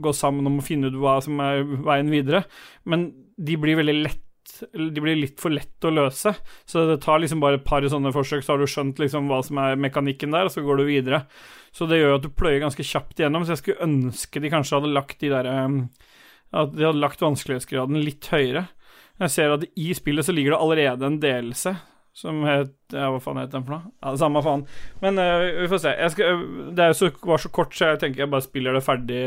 Gå sammen om å finne ut hva som er veien videre, men de blir veldig lett de blir litt for lett å løse. Så det tar liksom bare et par sånne forsøk, så har du skjønt liksom hva som er mekanikken der, og så går du videre. Så det gjør at du pløyer ganske kjapt igjennom, så jeg skulle ønske de kanskje hadde lagt de der um, At de hadde lagt vanskelighetsgraden litt høyere. Jeg ser at i spillet så ligger det allerede en delelse som het ja, Hva faen het den for noe? Ja, samme faen. Men øh, vi får se. Jeg skal, øh, det er jo så, var så kort, så jeg tenker jeg bare spiller det ferdig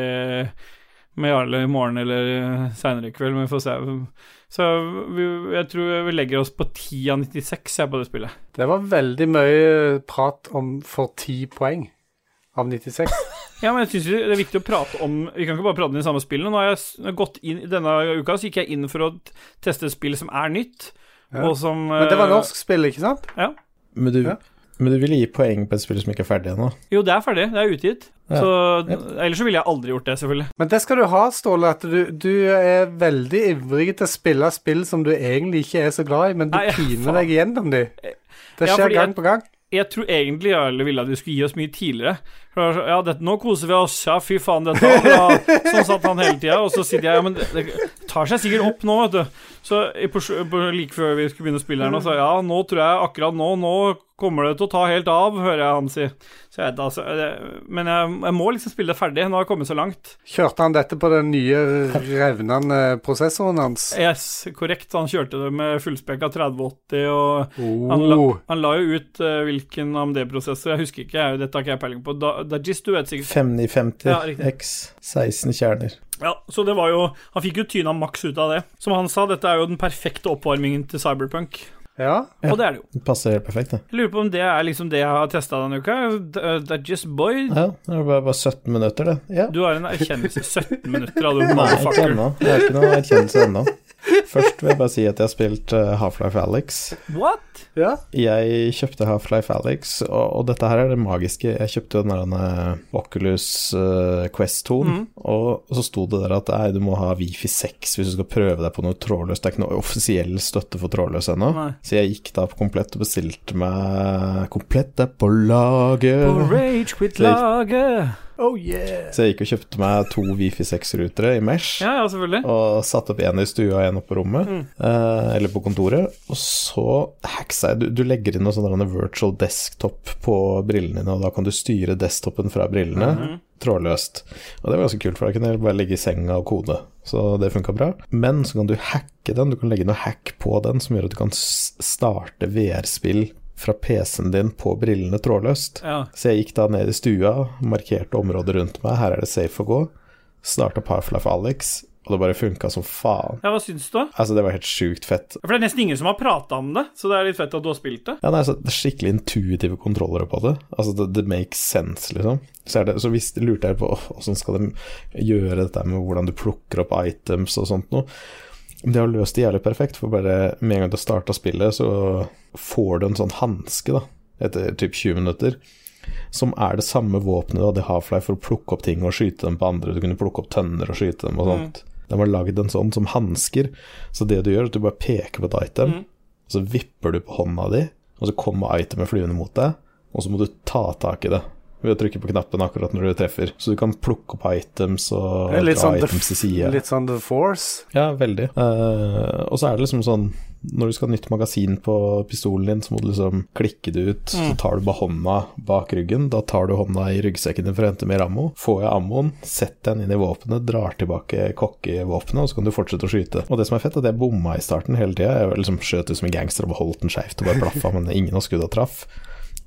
med Jarle i morgen eller seinere i kveld, men vi får se. Så vi, jeg tror vi legger oss på 10 av 96 jeg, på det spillet.
Det var veldig mye prat om for 10 poeng av 96.
Ja, men jeg synes jo det er viktig å prate om Vi kan ikke bare prate om de samme spillene. Nå har jeg s- gått inn, Denne uka så gikk jeg inn for å t- teste et spill som er nytt,
Ja.
og som
Men det var
øh,
norsk spill, ikke sant?
Men du,
Ja.
men du ville gi poeng på et spill som ikke er ferdig ennå?
Jo, det er ferdig. Det er utgitt.
Ja.
Så
Ja.
Ellers så ville jeg aldri gjort det, selvfølgelig.
Men det skal du ha, Ståle, at du, du er veldig ivrig til å spille spill som du egentlig ikke er så glad i, men du
Nei, ja,
piner
faen.
deg gjennom de. Det
Ja,
skjer
fordi
gang
jeg-
på gang.
Jeg tror egentlig Jarle ville at vi skulle gi oss mye tidligere. For det var så, ja, dette, nå koser vi oss, ja, fy faen, dette var bra. Sånn satt han hele tida. Og så sitter jeg, ja, men det, det tar seg sikkert opp nå, vet du. Så i, på, sl- på, like før vi skulle begynne å spille her nå, så ja, nå tror jeg akkurat nå, nå kommer det til å ta helt av, hører jeg han si. Så jeg vet da, altså, det- Men jeg, jeg må liksom spille det ferdig, nå har jeg kommet så langt.
Kjørte han dette på den nye revnende prosessoren hans?
Yes, korrekt, han kjørte det med fullspekka 3080 og Han la,
Oh.
han la jo ut eh, hvilken AMD-prosessor, jeg husker ikke, jeg, dette har ikke jeg peiling på. Da- Dajis, du vet sikkert.
5950
Ja, riktig.
X, 16 kjerner.
Ja, så det var jo Han fikk jo tyna maks ut av det. Som han sa, dette er jo den perfekte oppvarmingen til Cyberpunk.
Ja.
Ja.
Og det er det jo.
Det passer helt perfekt, det.
Jeg lurer på om det er liksom det jeg har testa denne uka. D- eh, Dajis Boy,
Ja, det er bare, bare 17 minutter, det. Ja.
du har en erkjennelse. 17 minutter hadde du,
Nei, ikke
motherfucker.
ennå. Jeg har ikke noe erkjennelse ennå. Først vil jeg bare si at jeg har spilt eh, Half-Life Alex.
What?
ja.
Jeg kjøpte Half-Life Alex, og, og dette her er det magiske. Jeg kjøpte jo den der denne Oculus eh, Quest 2,
Mhm.
og, og så sto det der at nei, du må ha Wifi 6 hvis du skal prøve deg på noe trådløst. Det er ikke noe offisiell støtte for trådløs ennå.
Nei.
Så jeg gikk da på Komplett og bestilte meg Komplett er på laget.
På Rage Quit-laget.
Oh yeah.
Så jeg gikk og kjøpte meg to Wifi 6-rutere i Mesh.
Ja, ja, selvfølgelig.
Og satte opp en i stua og en oppe på rommet, eh, eller på kontoret. Og så hacksa jeg Du, du legger inn noe sånn der virtual desktop på brillene dine, og da kan du styre desktopen fra brillene
Mm. Mhm.
trådløst. Og det var ganske kult, for da kunne jeg bare ligge i senga og kode. Så det funka bra. Men så kan du hacke den. Du kan legge noe hack på den som gjør at du kan s- starte VR-spill fra PC-en din på brillene trådløst.
Ja.
Så jeg gikk da ned i stua, markerte området rundt meg, her er det safe å gå. Starta Half-Life Alex, og det bare funka som faen.
ja, hva syns du? da?
Altså, det var helt sjukt fett.
For det er nesten ingen som har prata om det, så det er litt fett at du har spilt det.
Ja, nei, altså, det er skikkelig intuitive kontroller på det. Altså, det, det makes sense, liksom. Så, er det, så hvis, lurte jeg på åh, åssen skal de gjøre dette med hvordan du plukker opp items og sånt noe. Men De har løst det jævlig perfekt, for bare med en gang du starta spillet, så får du en sånn hanske, da, etter typ 20 minutter. Som er det samme våpenet du hadde i Half-Life for å plukke opp ting og skyte dem på andre. Du kunne plukke opp tønner og skyte dem og
Mm.
sånt. De har lagd en sånn som hansker, så det du gjør, er at du bare peker på et item.
Mm.
Og så vipper du på hånda di, og så kommer itemet flyvende mot deg, og så må du ta tak i det ved å trykke på knappen akkurat når du treffer. Så du kan plukke opp items og
Det er litt
dra
sånn,
items til
the,
side.
litt sånn The Force.
Ja, veldig. Eh, og så er det liksom sånn Når du skal ha nytt magasin på pistolen din, så må du liksom klikke det ut. Så tar du bare hånda bak ryggen. Da tar du hånda i ryggsekken din for å hente mer ammo. Får jeg ammoen, setter den inn i våpenet, drar tilbake kokkevåpenet, og så kan du fortsette å skyte. Og det som er fett, er at jeg bomma i starten hele tida. Jeg liksom skjøt ut som en gangster og bare holdt den skjevt og bare plaffa, men ingen av skudda traff.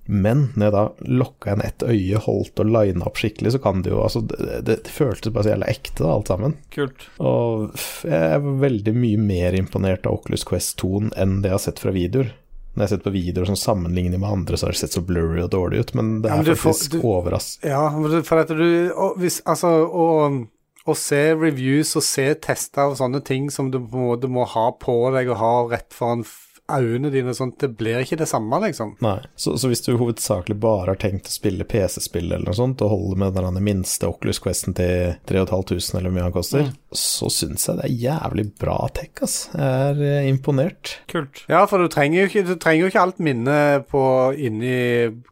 Men når jeg da lokka igjen ett øye, holdt og lina opp skikkelig, så kan det jo altså, Det, det, det føltes bare så jævla ekte, da, alt sammen.
Kult.
Og f- jeg er veldig mye mer imponert av Oculus Quest 2 enn det jeg har sett fra videoer. Når jeg har sett på videoer som sammenligner med andre, så har det sett så blurry og dårlig ut, men det
Ja,
er
men du får-
faktisk
du-
overraskende.
Ja, men for at du og hvis, Altså, å- å se reviews og se tester og sånne ting som du på en måte må ha på deg og ha rett foran f- øynene dine og sånt, det blir ikke det samme, liksom.
Nei. Så, så hvis du hovedsakelig bare har tenkt å spille PC-spill eller noe sånt, og holder med den der minste Oculus Questen til 3500 eller hvor mye han koster,
Mm.
så syns jeg det er jævlig bra tech, ass. Jeg er eh, imponert.
Kult.
Ja, for du trenger jo ikke, du trenger jo ikke alt minnet på inni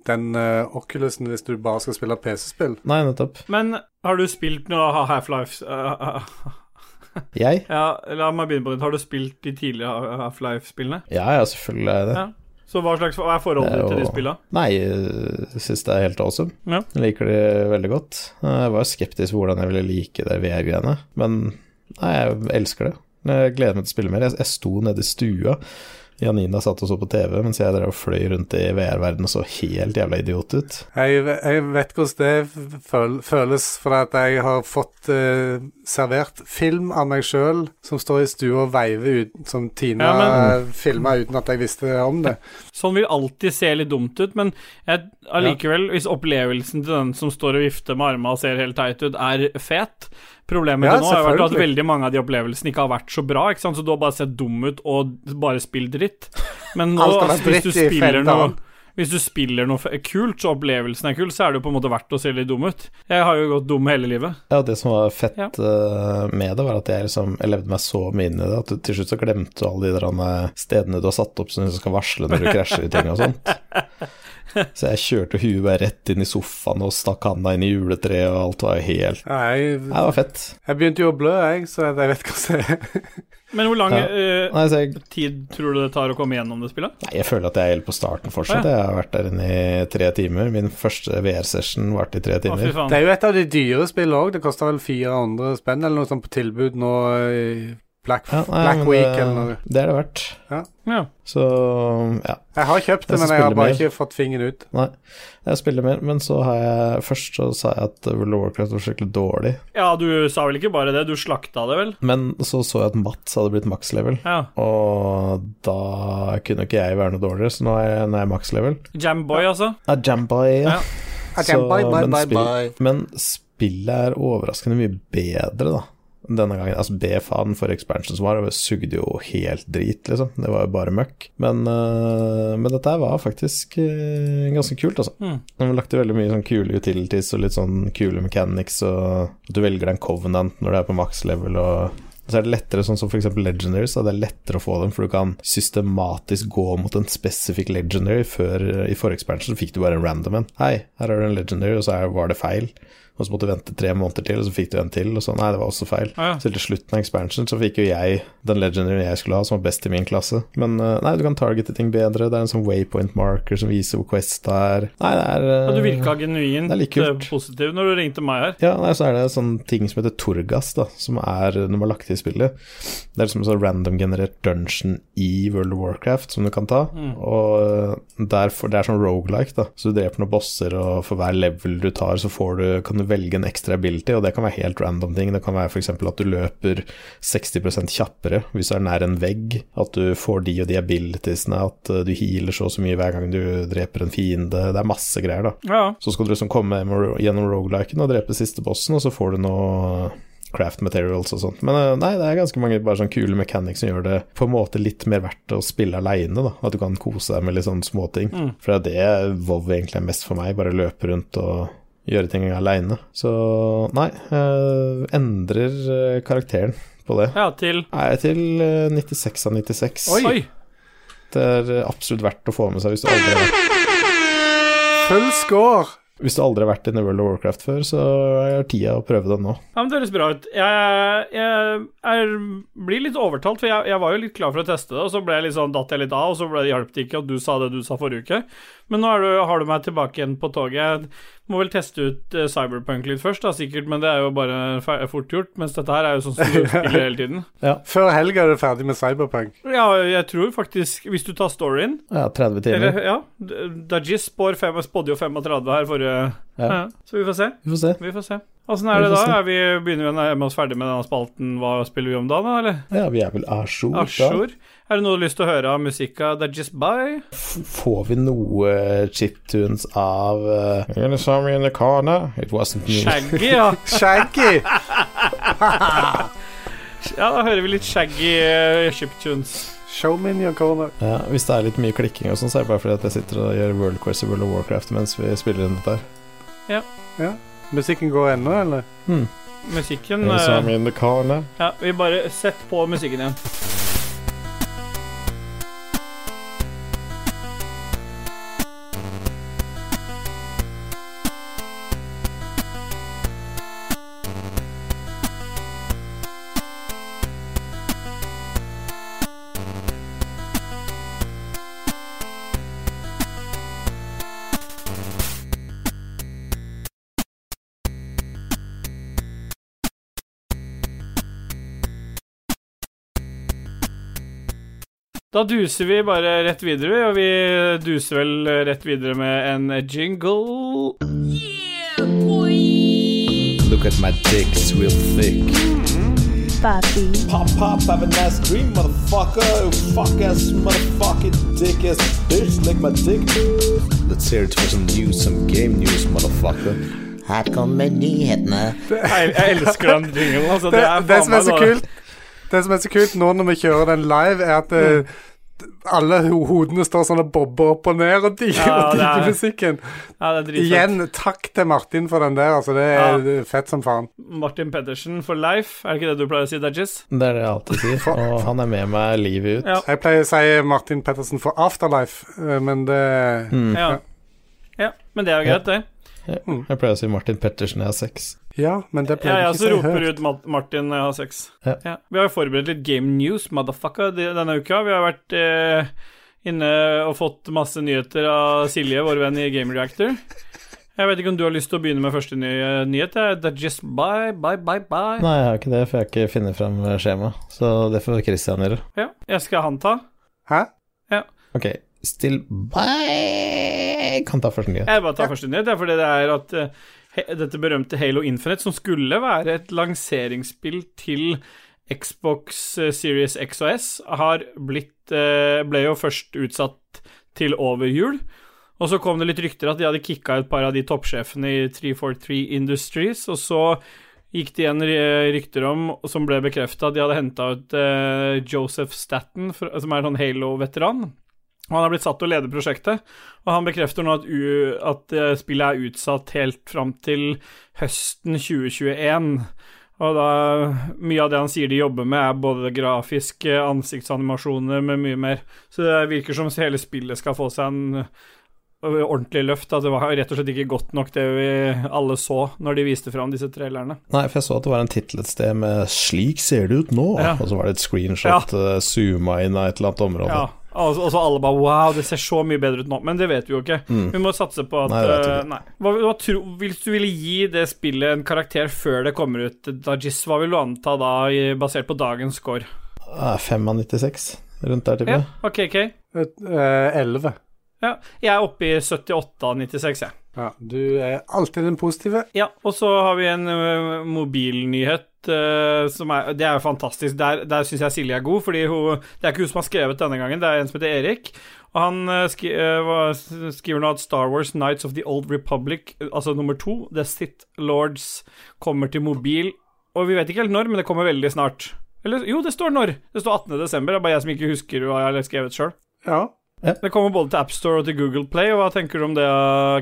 den eh, Oculusen hvis du bare skal spille PC-spill.
Nei, nettopp.
Men har du spilt noe Half-Life uh,
Jeg?
eh, Ja, la meg begynne på ditt. Har du spilt de tidligere Half-Life-spillene?
Ja, ja, selvfølgelig er jeg det.
Ja. Så hva slags hva er forholdet
Det er
ditt til de
jo-
spillene?
Nei, jeg syns det er helt awesome.
Ja.
Jeg liker det veldig godt. Eh, Jeg var jo skeptisk på hvordan jeg ville like det VR-greiene, men nei, jeg elsker det. Jeg gleder meg til å spille mer. Jeg, jeg sto nede i stua. Janina satt og så på TV mens jeg drev og fløy rundt i VR-verdenen og så helt jævla idiot ut.
Jeg, ve- jeg vet hvordan det føl- føles, for at jeg har fått eh, servert film av meg sjøl som står i stua og veiver ut, som Tina
Ja, men-
eh, filma uten at jeg visste om det.
Sånn vil alltid se litt dumt ut, men jeg, allikevel, hvis opplevelsen til den som står og vifter med armene og ser helt teit ut, er fet Problemet
Ja,
til nå har jo vært at
selvfølgelig.
veldig mange av de opplevelsene ikke har vært så bra, ikke sant? så du har bare sett dum ut og bare spilt dritt. Men nå,
Alt har vært
altså, hvis, du
dritt i
spiller
fem
noe,
dager.
hvis du spiller noe f- kult, så opplevelsen er kul, så er det jo på en måte verdt å se litt dum ut. Jeg har jo gått dum hele livet.
Ja, og det som var fett
Ja.
eh, med det, var at jeg liksom jeg levde meg så mye inn i det at du til slutt så glemte du alle de der eh, stedene du har satt opp som du skal varsle når du krasjer i ting og sånt. Så jeg kjørte huet bare rett inn i sofaen og stakk handa inn i juletreet, og alt var jo helt
Ja, Jeg,
Nei, det var fett.
jeg begynte jo å blø, jeg, så jeg vet hvordan det er.
Men hvor lang
Ja.
eh,
Nei, så jeg,
tid tror du det tar å komme gjennom det spillet?
nei, jeg føler at jeg er helt på starten fortsatt.
Å,
Jeg har vært der inne i tre timer. Min første VR-session varte i tre
Å, fy
timer.
faen.
Det er jo et av de dyre spillene òg. Det koster vel 400 spenn eller noe sånt på tilbud nå i Black,
Ja, nei,
Black
men eh,
Week
det-
eller noe.
Det er det verdt.
Ja.
Så ja.
Jeg har kjøpt det,
Jeg skal
men jeg har bare
spille mer.
ikke fått fingeren ut.
Nei, jeg spiller mer, men så har jeg Først så sa jeg at World of Warcraft var skikkelig dårlig,
ja, du sa vel ikke bare det, du slakta det vel?
men så så jeg at Mats hadde blitt max level.
Ja.
Og da kunne ikke jeg være noe dårligere, så nå er jeg, nå er jeg max level.
Jamboy, altså.
Ah, Jamboy, ja.
Ja.
Ah,
Så-
Jamboy, bye,
men,
bye, bye.
spill, men spillet er overraskende mye bedre, da. Denne gangen, altså BFA-en for expansion som var, det sugde jo helt drit, liksom. Det var jo bare møkk. Men, øh, men dette her var faktisk øh, ganske kult, altså.
Mm.
De har lagt til veldig mye sånn kule utilities og litt sånn kule mechanics og at du velger deg en covenant når du er på max level og så er det lettere, sånn som f.eks. legendaries, da, det er lettere å få dem, for du kan systematisk gå mot en spesifikk legendary. Før, I forrige expansion så fikk du bare en random en. Hei, her har du en legendary, og så er, var det feil. Og så måtte du vente tre måneder til, og så fikk du en til, og så nei, det var også feil.
Ja, ja.
Så til slutten av expansion så fikk jo jeg den legendary jeg skulle ha, som var best i min klasse. Men eh, nei, du kan targete ting bedre. Det er en sånn waypoint marker som viser hvor Quest er. Nei, det er eh,
Ja, du virka genuint
det er litt kult.
eh, positiv når du ringte meg her.
Ja, nei, så er det sånn ting som heter Torgas, da, som er når man har lagt til i spillet. Det er liksom en sånn random-generert dungeon i World of Warcraft som du kan ta. Og derfor, det er sånn roguelike da. Så du dreper noen bosser, og for hver level du tar, så får du, kan du velge en ekstra ability, og det kan være helt random ting. Det kan være f.eks. at du løper 60 kjappere hvis du er nær en vegg, at du får de og de abilitiesene, at eh, du healer så og så mye hver gang du dreper en fiende. Det er masse greier, da.
Ja,
Så skal du liksom komme hjem- gjennom rogeliken og drepe siste bossen, og så får du noe uh, craft materials og sånt. Men eh, nei, det er ganske mange bare sånn kule mechanics som gjør det på en måte litt mer verdt å spille aleine, da. At du kan kose deg med litt sånne småting.
Mm.
For det er det WoW egentlig er mest for meg, bare løpe rundt og gjøre ting aleine. Så nei, eh, endrer eh, karakteren på det.
ja til
Er jeg til eh, 96 av 96.
Oi!
Det er eh, absolutt verdt å få med seg hvis du aldri har vært
Full score!
Hvis du aldri har vært inne i World of Warcraft før, så er tida å prøve den nå.
Ja, men Det høres bra ut. Jeg, jeg, er, blir litt overtalt, for jeg, jeg var jo litt klar for å teste det, og så ble jeg litt sånn, datt jeg litt av, og så ble det hjalp det ikke at du sa det du sa forrige uke. Men nå er du, har du meg tilbake igjen på toget. Jeg må vel teste ut eh, Cyberpunk litt først, da, sikkert, men det er jo bare fe- fort gjort. Mens dette her er jo sånn som du spiller hele tiden.
Før helga er du ferdig med Cyberpunk.
Ja, jeg tror faktisk, hvis du tar storyen
Ja, 30 timer.
Eller, ja, D- Dajis spår fem- spådde jo 35 her forrige
Ja.
ja. Så vi får se.
Vi får se.
Vi får se. Åssen er
Vi
det
får
da?
se.
Er vi, begynner vi å nærme oss ferdig med denne spalten? Hva spiller vi om da, da eller?
Ja, vi er vel à jour. da.
Asjor? Er det noe du har lyst til å høre av musikka? Det er just by?
Får vi noe chiptunes av uh, You saw me in the corner, it wasn't me.
Shaggy, ja.
Shaggy!
ja. Da hører vi litt shaggy eh, chiptunes.
Show me in your corner.
Ja, hvis det er litt mye klikking og sånn, så er det bare fordi at jeg sitter og gjør World Quest og World of Warcraft mens vi spiller inn dette her.
Musikken går ennå, eller?
Hmm.
Musikken
You saw
eh,
me in the corner.
Ja, vi bare Sett på musikken igjen. Da duser vi bare rett videre, og vi duser vel rett videre med en jingle.
Look at my dick, it's real thick.
Papi,
Pop, pop, have a nice dream, motherfucker. Fuck ass, motherfucking dick ass bitch, lick my dick. Let's hear it for some news, some game news, motherfucker.
Her kommer nyhetene.
Jeg, jeg elsker den jinglen, altså.
Det,
Det er
det
faen
som er
meg
så
noe-
kult Det som er så kult nå når vi kjører den live, er at eh, alle ho- hodene står sånn og bobber opp og ned og digger
Mm. Ja, det
og
er
digger
det.
musikken.
Ja, det er dritfett.
Igjen, takk til Martin for den der. Altså, det er fett som faen.
Martin Pettersen for life, er det ikke det du pleier å si, Dajis?
Det er det jeg alltid sier, og han er med meg livet ut.
Ja.
Jeg pleier å si Martin Pettersen for Afterlife, eh, men det
Ja. ja. Men det er jo greit, det.
Jeg pleier å si Martin Pettersen, jeg har sex.
Ja, men det
Ja,
pleier
ja,
jeg
så
ikke å si
roper
høyt.
ut Ma- Martin når jeg har sex. Ja.
Ja.
Vi har jo forberedt litt game news, motherfucker, de- denne uka. Vi har vært eh, inne og fått masse nyheter av Silje, vår venn i Game Reactor. Jeg vet ikke om du har lyst til å begynne med første ny eh, nyhet? jeg. Det er just bye, bye, bye, bye.
Nei, jeg har ikke det, for jeg har ikke funnet frem skjemaet. Så det får Christian gjøre.
Ja, jeg skal han ta.
Hæ?
Ok, still bye Kan ta første nyhet.
Jeg bare tar første nyhet, ja, fordi det er at eh, he- dette berømte Halo Infinite, som skulle være et lanseringsspill til Xbox eh, Series X og S, har blitt eh, Ble jo først utsatt til over jul. Og så kom det litt rykter at de hadde kicka et par av de toppsjefene i 343 Industries, og så gikk det igjen ry- rykter om, som ble bekrefta, at de hadde henta ut eh, Joseph Statten, fra- som er en sånn Halo-veteran. Og Han har blitt satt til å lede prosjektet, og han bekrefter nå at, u at eh, spillet er utsatt helt fram til høsten 2021. Og da Mye av det han sier de jobber med, er både grafiske ansiktsanimasjoner med mye mer. Så det virker som hele spillet skal få seg en eh, ordentlig løft. At det var rett og slett ikke godt nok, det vi alle så når de viste fram disse trailerne.
Nei, for jeg så at det var en tittel et sted med 'Slik ser det ut nå',
Ja.
og så var det et screenshot ja. zooma inn av et eller annet område.
Ja, og og så alle bare Wow, det ser så mye bedre ut nå. Men det vet vi jo ikke. Vi må satse på at
Mm. Nei, det vet vi
eh,
ikke.
nei. Hva, hva tro, Hvis du ville gi det spillet en karakter før det kommer ut, Dajis, hva vil du anta da, i- basert på dagens score?
Ah, 5 av 96, rundt der, tipper
Ja,
jeg.
OK, OK.
Et, eh, 11.
Ja. Jeg er oppe i 78 av 96, jeg.
Ja, du er alltid den positive.
Ja, og så har vi en ø, mobilnyhet. ø, som er, det er jo fantastisk. Der, der syns jeg Silje er god, fordi hun, det er ikke hun som har skrevet denne gangen, det er en som heter Erik. Og han ø, skri, ø, hva- s- skriver nå at Star Wars Nights of the Old Republic, ø, altså nummer to, The Sith Lords, kommer til mobil. Og vi vet ikke helt når, men det kommer veldig snart. Eller jo, det står når. Det står 18. desember. Det er bare jeg som ikke husker hva jeg har skrevet sjøl.
Ja.
Det kommer både til AppStore og til Google Play, og hva tenker du om det,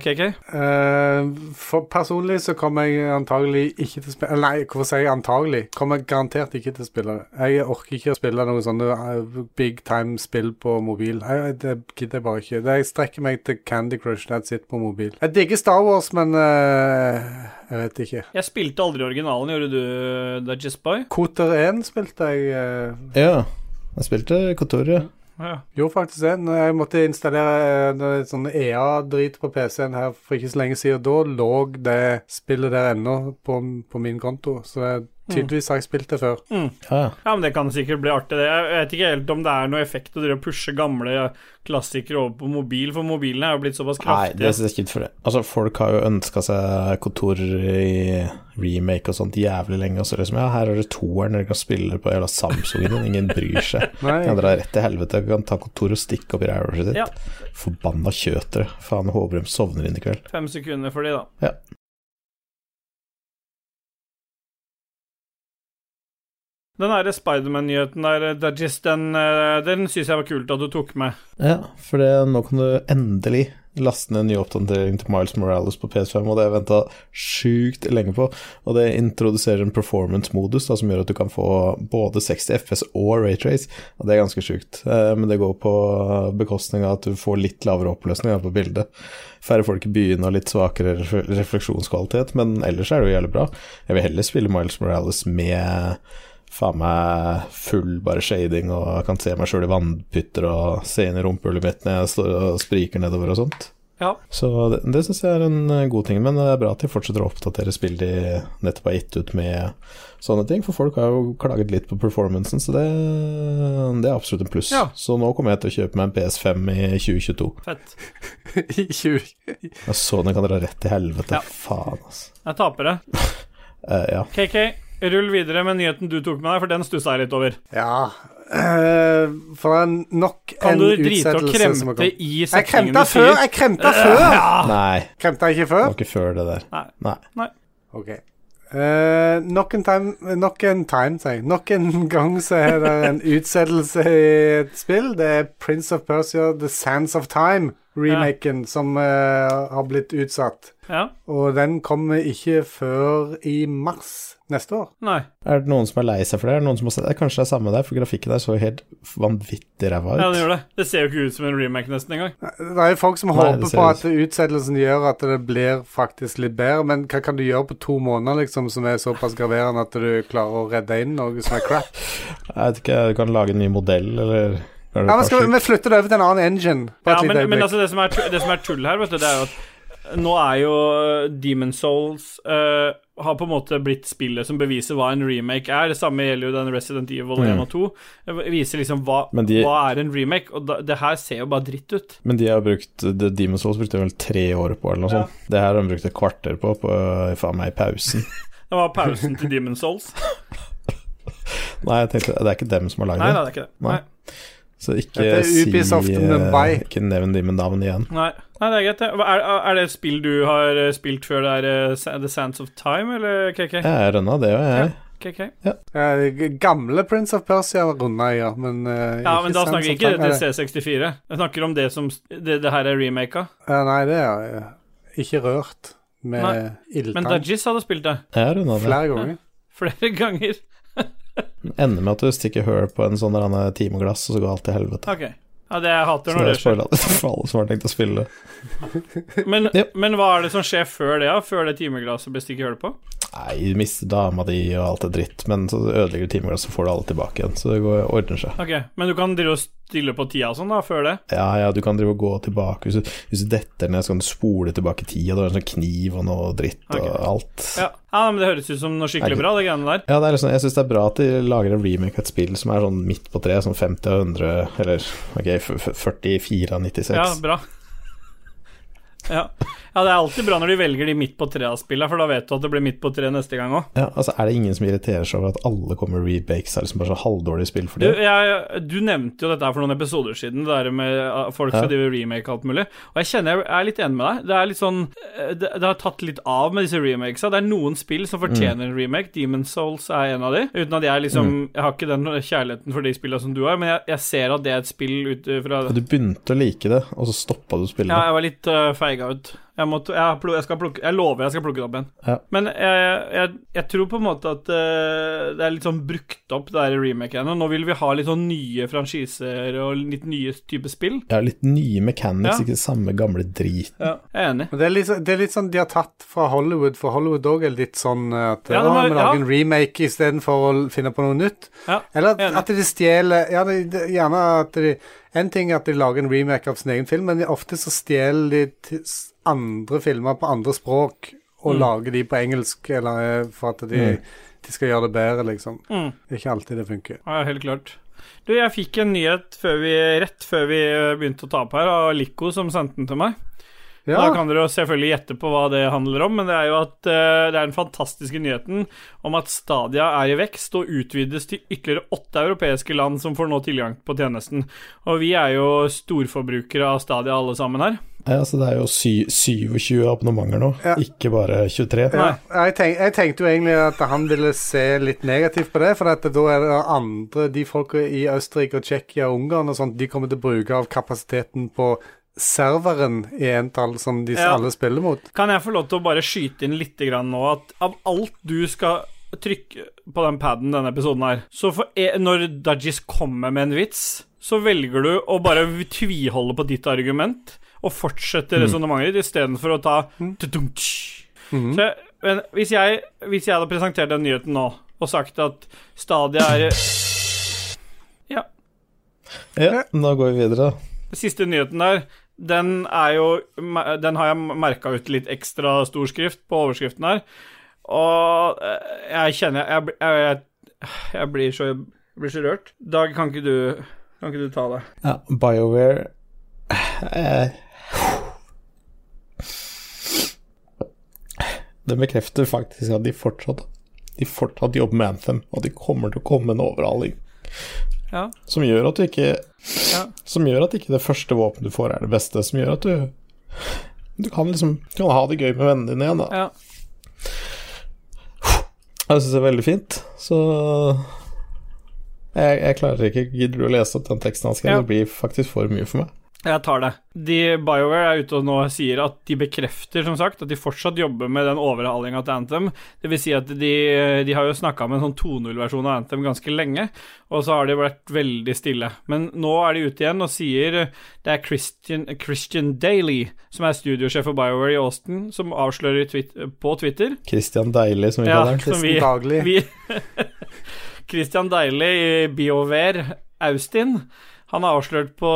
KK?
Eh, for personlig så kommer jeg antagelig ikke til å spille Nei, hvorfor sier jeg antagelig? Kommer jeg garantert ikke til å spille det. Jeg orker ikke å spille noe sånne eh, big time spill på mobil. Jeg, jeg, det gidder jeg bare ikke. Det, jeg strekker meg til Candy Crush That's it på mobil. Jeg digger Star Wars, men eh, jeg vet ikke.
Jeg spilte aldri originalen, gjorde du det, Jisboy?
Koter 1 spilte jeg. eh,
Ja. Jeg spilte Kotor, ja.
Ja.
gjorde faktisk det. Når Jeg måtte installere uh, sånn EA-drit på PC-en her for ikke så lenge siden. Da lå det spillet der ennå på, på min konto, så jeg,
Mm.
tydeligvis har jeg spilt det før.
ja.
Ja, men det kan sikkert bli artig, det. Jeg vet ikke helt om det er noe effekt å drive og pushe gamle klassikere over på mobil, for mobilene er jo blitt såpass
Nei, det
kraftige.
ser ikke ut for det. Altså, folk har jo ønska seg Kotor i remake og sånt jævlig lenge, og så liksom Ja, her er det toeren dere kan spille på jævla Samsungen, og ingen bryr seg.
Nei.
Kan dra rett til helvete og kan ta Kotor og stikke opp i ræva sitt.
Ja.
Forbanna kjøtere. Faen, Håbrem sovner inn i kveld.
Fem sekunder for de, da.
Ja.
Den derre Spiderman-nyheten der, Dajis, den, eh, den syns jeg var kult at du tok med.
Ja, for det, nå kan du endelig laste ned en ny oppdatering til Miles Morales på PS5, og det har jeg venta sjukt lenge på. Og det introduserer en performance-modus da, som gjør at du kan få både 60 FPS og Raytrace, og det er ganske sjukt. Eh, Men det går på bekostning av at du får litt lavere oppløsning da, på bildet. Færre folk i byene og litt svakere ref- refleksjonskvalitet, men ellers er det jo jævlig bra. Jeg vil heller spille Miles Morales med faen meg full bare shading og kan se meg sjøl i vannpytter og se inn i rumpehullet mitt når jeg står og spriker nedover og sånt.
Ja.
Så det, det syns jeg er en eh, god ting. Men det er bra at de fortsetter å oppdatere spill de nettopp har gitt ut med sånne ting, for folk har jo klaget litt på performancen, så det, det er absolutt en pluss.
Ja.
Så nå kommer jeg til å kjøpe meg en PS5 i 2022.
Fett.
I 20
Jeg så den kan dra rett til helvete.
Ja.
Faen, altså.
Jeg taper det.
Eh, ja.
KK, rull videre med nyheten du tok med deg, for den stussa jeg litt over.
Ja eh, For det er nok
Kan
en
du drite og
utsettelse som har
kremte
kommet.
i
Jeg
setningen
kremta
du
før!
sier?
Jeg kremta før!
Nei,
Kremta jeg ikke
det
før?
var ikke før det der.
Nei.
Nei.
OK. Eh, nok en time Nok en time, sier jeg. Nok en gang så er det en utsettelse i et spill. Det er Prince of Persia, The Sands of Time, remaken, som eh, har blitt utsatt.
Ja.
Og den kommer ikke før i mars neste år.
Nei.
Er det noen som er lei seg for det? Er det noen som har sett det? Kanskje det er samme der, for grafikken der så helt vanvittig ræva ut.
Ja, den gjør det. Det ser jo ikke ut som en remake nesten engang.
Det er jo folk som
det
håper
ser
på
ut
at utsettelsen gjør at det blir faktisk litt bedre, men hva kan du gjøre på to måneder liksom som er såpass graverende at du klarer å redde inn noe som er crap?
Jeg vet ikke, du kan lage en ny modell, eller er det
Ja, men skal
kanskje-
vi, vi flytter det over til en annen engine på
Ja,
et
men,
lite
men
øyeblikk.
altså, det som, er, tu- det som er tull her, vet du, det er jo at nå er jo eh, Demon's Souls eh, har på en måte blitt spillet som beviser hva en remake er. Det samme gjelder jo den Resident Evil 1 og 2. Det viser liksom hva,
Men de-
hva er en remake, og da, det her ser jo bare dritt ut.
Men de har brukt The Demon's Souls brukte vel tre år på, eller noe sånt. Det her har de brukt et kvarter på, på faen meg i pausen.
Det var pausen til Demon's Souls.
Nei, jeg tenkte, det er ikke dem som har
Nei, nei, det
lagd det.
er ikke det. Nei.
Nei. Så ikke
Dette er
si
Ubisoft Mumbai.
eh, Ikke nevn de med navn igjen.
Nei, nei, det er greit, det. Hva Er, er det et spill du har eh, spilt før det er eh, Sa- The Sands of Time, eller KK?
Jeg er rønna, det gjør jeg.
KK?
Ja, Eh, g- gamle Prince of Persia runda, ja, men eh,
Ja, men da
sant
Sånn
snakker vi
som
ikke
faen er
til C64. Jeg snakker om det som Det, det her er remaka.
Ja, nei, det er eh, ikke rørt
Nei,
med
Men
ildtann
Dajis hadde spilt det
Jeg er rønna det.
flere ganger.
flere ganger.
Ender med at du stikker hull på en sånn der annen timeglass, og så går alt til helvete.
Ok. Ja, det jeg hater
Så
når
det
det
er
skjer.
spoila for alle som har tenkt å spille.
Men,
Ja.
men hva er det som skjer før det, da? Før det timeglasset blir stikket hull på?
Nei, du mister dama di og alt det dritt, men så ødelegger du timeglasset, så får du alle tilbake igjen. Så det går, ordner seg.
Ok, men du kan drive og stille på tida og sånn, da, før det?
Ja, ja, du kan drive og gå tilbake. Hvis du, hvis du detter ned, så kan du spole tilbake tida. Du har en sånn kniv og noe dritt og
Ok.
alt. Ja.
Ja, ja men det høres ut som noe skikkelig bra, det greiene der.
det er liksom, Jeg syns det er bra at de lager en remake av et spill som er sånn midt på treet, sånn 50 av 100, eller ok, f- f- 44 av 96.
Ja, bra. Ja. ja, det er alltid bra når de velger de midt på tre-spillene, for da vet du at det blir midt på tre neste gang òg.
Ja, altså Er det ingen som irriterer seg over at alle kommer med remakes? Er det liksom bare sånn halvdårlige spill for
Du,
dem?
jeg, du nevnte jo dette her for noen episoder siden, det der med at folk skal
Ja.
drive remake og alt mulig. Og jeg kjenner jeg er litt enig med deg. Det er litt sånn eh, Det, det har tatt litt av med disse remakesa. Det er noen spill som fortjener
Mm.
en remake. Demon's Souls er en av de. Uten at jeg liksom Jeg har ikke den kjærligheten for de spillene som du har, men jeg, jeg ser at det er et spill ut uh, fra
Og Du begynte å like det, og så stoppa du spillet.
Ja, jeg var litt uh, feiga ut. Jeg, måtte, jeg, plu- jeg, skal plukke, jeg lover jeg skal plukke det opp igjen.
Ja.
Men jeg, jeg, jeg tror på en måte at eh, det er litt sånn brukt opp, det der remake-greiene. Nå vil vi ha litt sånn nye franchiser og litt nye typer spill.
Ja, litt nye mechanics,
Ja.
ikke samme gamle drit.
Jeg er enig.
Men det er, litt, så- det er litt sånn de har tatt fra Hollywood, for Hollywood òg er litt sånn eh, at
Ja,
ja,
det var-
vi
ja.
lager en remake istedenfor å finne på noe nytt.
Ja,
Eller at,
enig.
at de stjeler ja, de, de, Gjerne at de En ting er at de lager en remake av sin egen film, men de, ofte så stjeler de til s- andre filmer på andre språk
Mm.
og lager de på engelsk eller, eh, for at de, de skal gjøre det bedre, liksom.
Mm.
Det er ikke alltid det funker.
Ja, helt klart. Du, jeg fikk en nyhet før vi, rett før vi eh, begynte å ta opp her, av Lico som sendte den til meg.
Ja,
Da kan dere jo selvfølgelig gjette på hva det handler om, men det er jo at eh, det er den fantastiske nyheten om at Stadia er i vekst og utvides til ytterligere åtte europeiske land som får nå tilgang på tjenesten. Og vi er jo storforbrukere av Stadia alle sammen her.
Ja, altså Det er jo sy 27 abonnementer nå,
Ja.
ikke bare 23.
Nei.
jeg, tenk, jeg tenkte jo egentlig at han ville se litt negativt på det, for at da er det andre De folka i Østerrike og Tsjekkia og Ungarn og sånt, de kommer til å bruke av kapasiteten på serveren i entall som de
Ja.
alle spiller mot.
Kan jeg få lov til å bare skyte inn litt grann nå at av alt du skal trykke på den paden denne episoden her, så for e når Dajis kommer med en vits, så velger du å bare tviholde på ditt argument og fortsette resonnementet ditt istedenfor å ta tudunk. Så jeg- men hvis jeg, hvis jeg hadde presentert den nyheten nå og sagt at Stadia er
Ja, Da går vi videre.
Siste nyheten der den er jo Den har jeg merka ut litt ekstra stor skrift på overskriften her. Og eh, jeg kjenner Jeg, jeg, jeg, jeg blir, så, jeg blir så rørt. Dag, kan ikke du, kan ikke du ta det?
Ja, BioWare eh, Det bekrefter faktisk at de fortsatt De fortsatt jobber med Anthem, og de kommer til å komme med en overhaling.
Ja.
Som gjør at du ikke
Ja.
Som gjør at ikke det første våpenet du får, er det beste. Som gjør at du Du kan liksom du kan ha det gøy med vennene dine igjen, da.
Ja.
Jeg syns det er veldig fint, så jeg, jeg klarer ikke Gidder du å lese opp den teksten han skrev?
Ja.
Det blir faktisk for mye for meg.
Jeg tar det. De BioWare er ute og nå sier at de bekrefter, som sagt, at de fortsatt jobber med den overhalinga til Anthem. Det vil si at de, de har jo snakka med en sånn 2.0-versjon av Anthem ganske lenge, og så har de vært veldig stille. Men nå er de ute igjen og sier Det er Christian, Christian Daly, som er studiosjef for BioWare i Austin, som avslører twit på Twitter
Christian Deilig, som vi
Ja,
kaller han.
som vi,
Daglig.
vi Christian Deilig i BioVer Austin. Han er avslørt på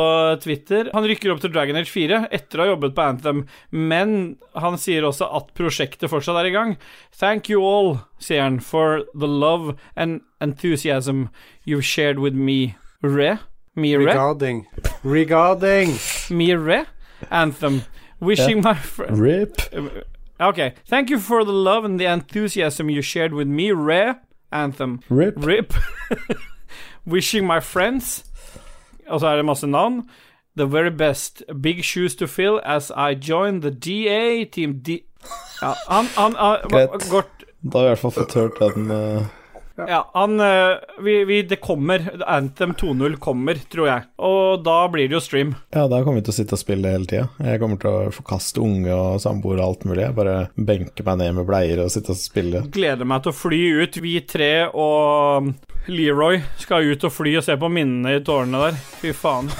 Twitter. Han rykker opp til Dragon Age 4 etter å ha jobbet på Anthem, men han sier også at prosjektet fortsatt er i gang. Thank you all, sier han, for the love and enthusiasm you've shared with me. Re? Me re?
Regarding. Regarding.
Me re? Anthem. Wishing my friend
RIP.
Ok. Thank you for the love and the enthusiasm you shared with me, Re. Anthem.
RIP.
RIP. Wishing my friends Og så er det masse navn. The very best. Big shoes to fill as I join the DA team D... Ja, han, han, han
Greit.
går
Da har vi i hvert fall fått hørt den eh,
ja, han eh, vi, vi, Det kommer. Anthem 2.0 kommer, tror jeg. Og da blir det jo stream.
Ja, da kommer vi til å sitte og spille hele tida. Jeg kommer til å forkaste unge og samboere og alt mulig. Jeg bare benker meg ned med bleier og sitte og spille.
Gleder meg til å fly ut. Vi tre og um, Leroy skal ut og fly og se på minnene i tårnene der. Fy faen.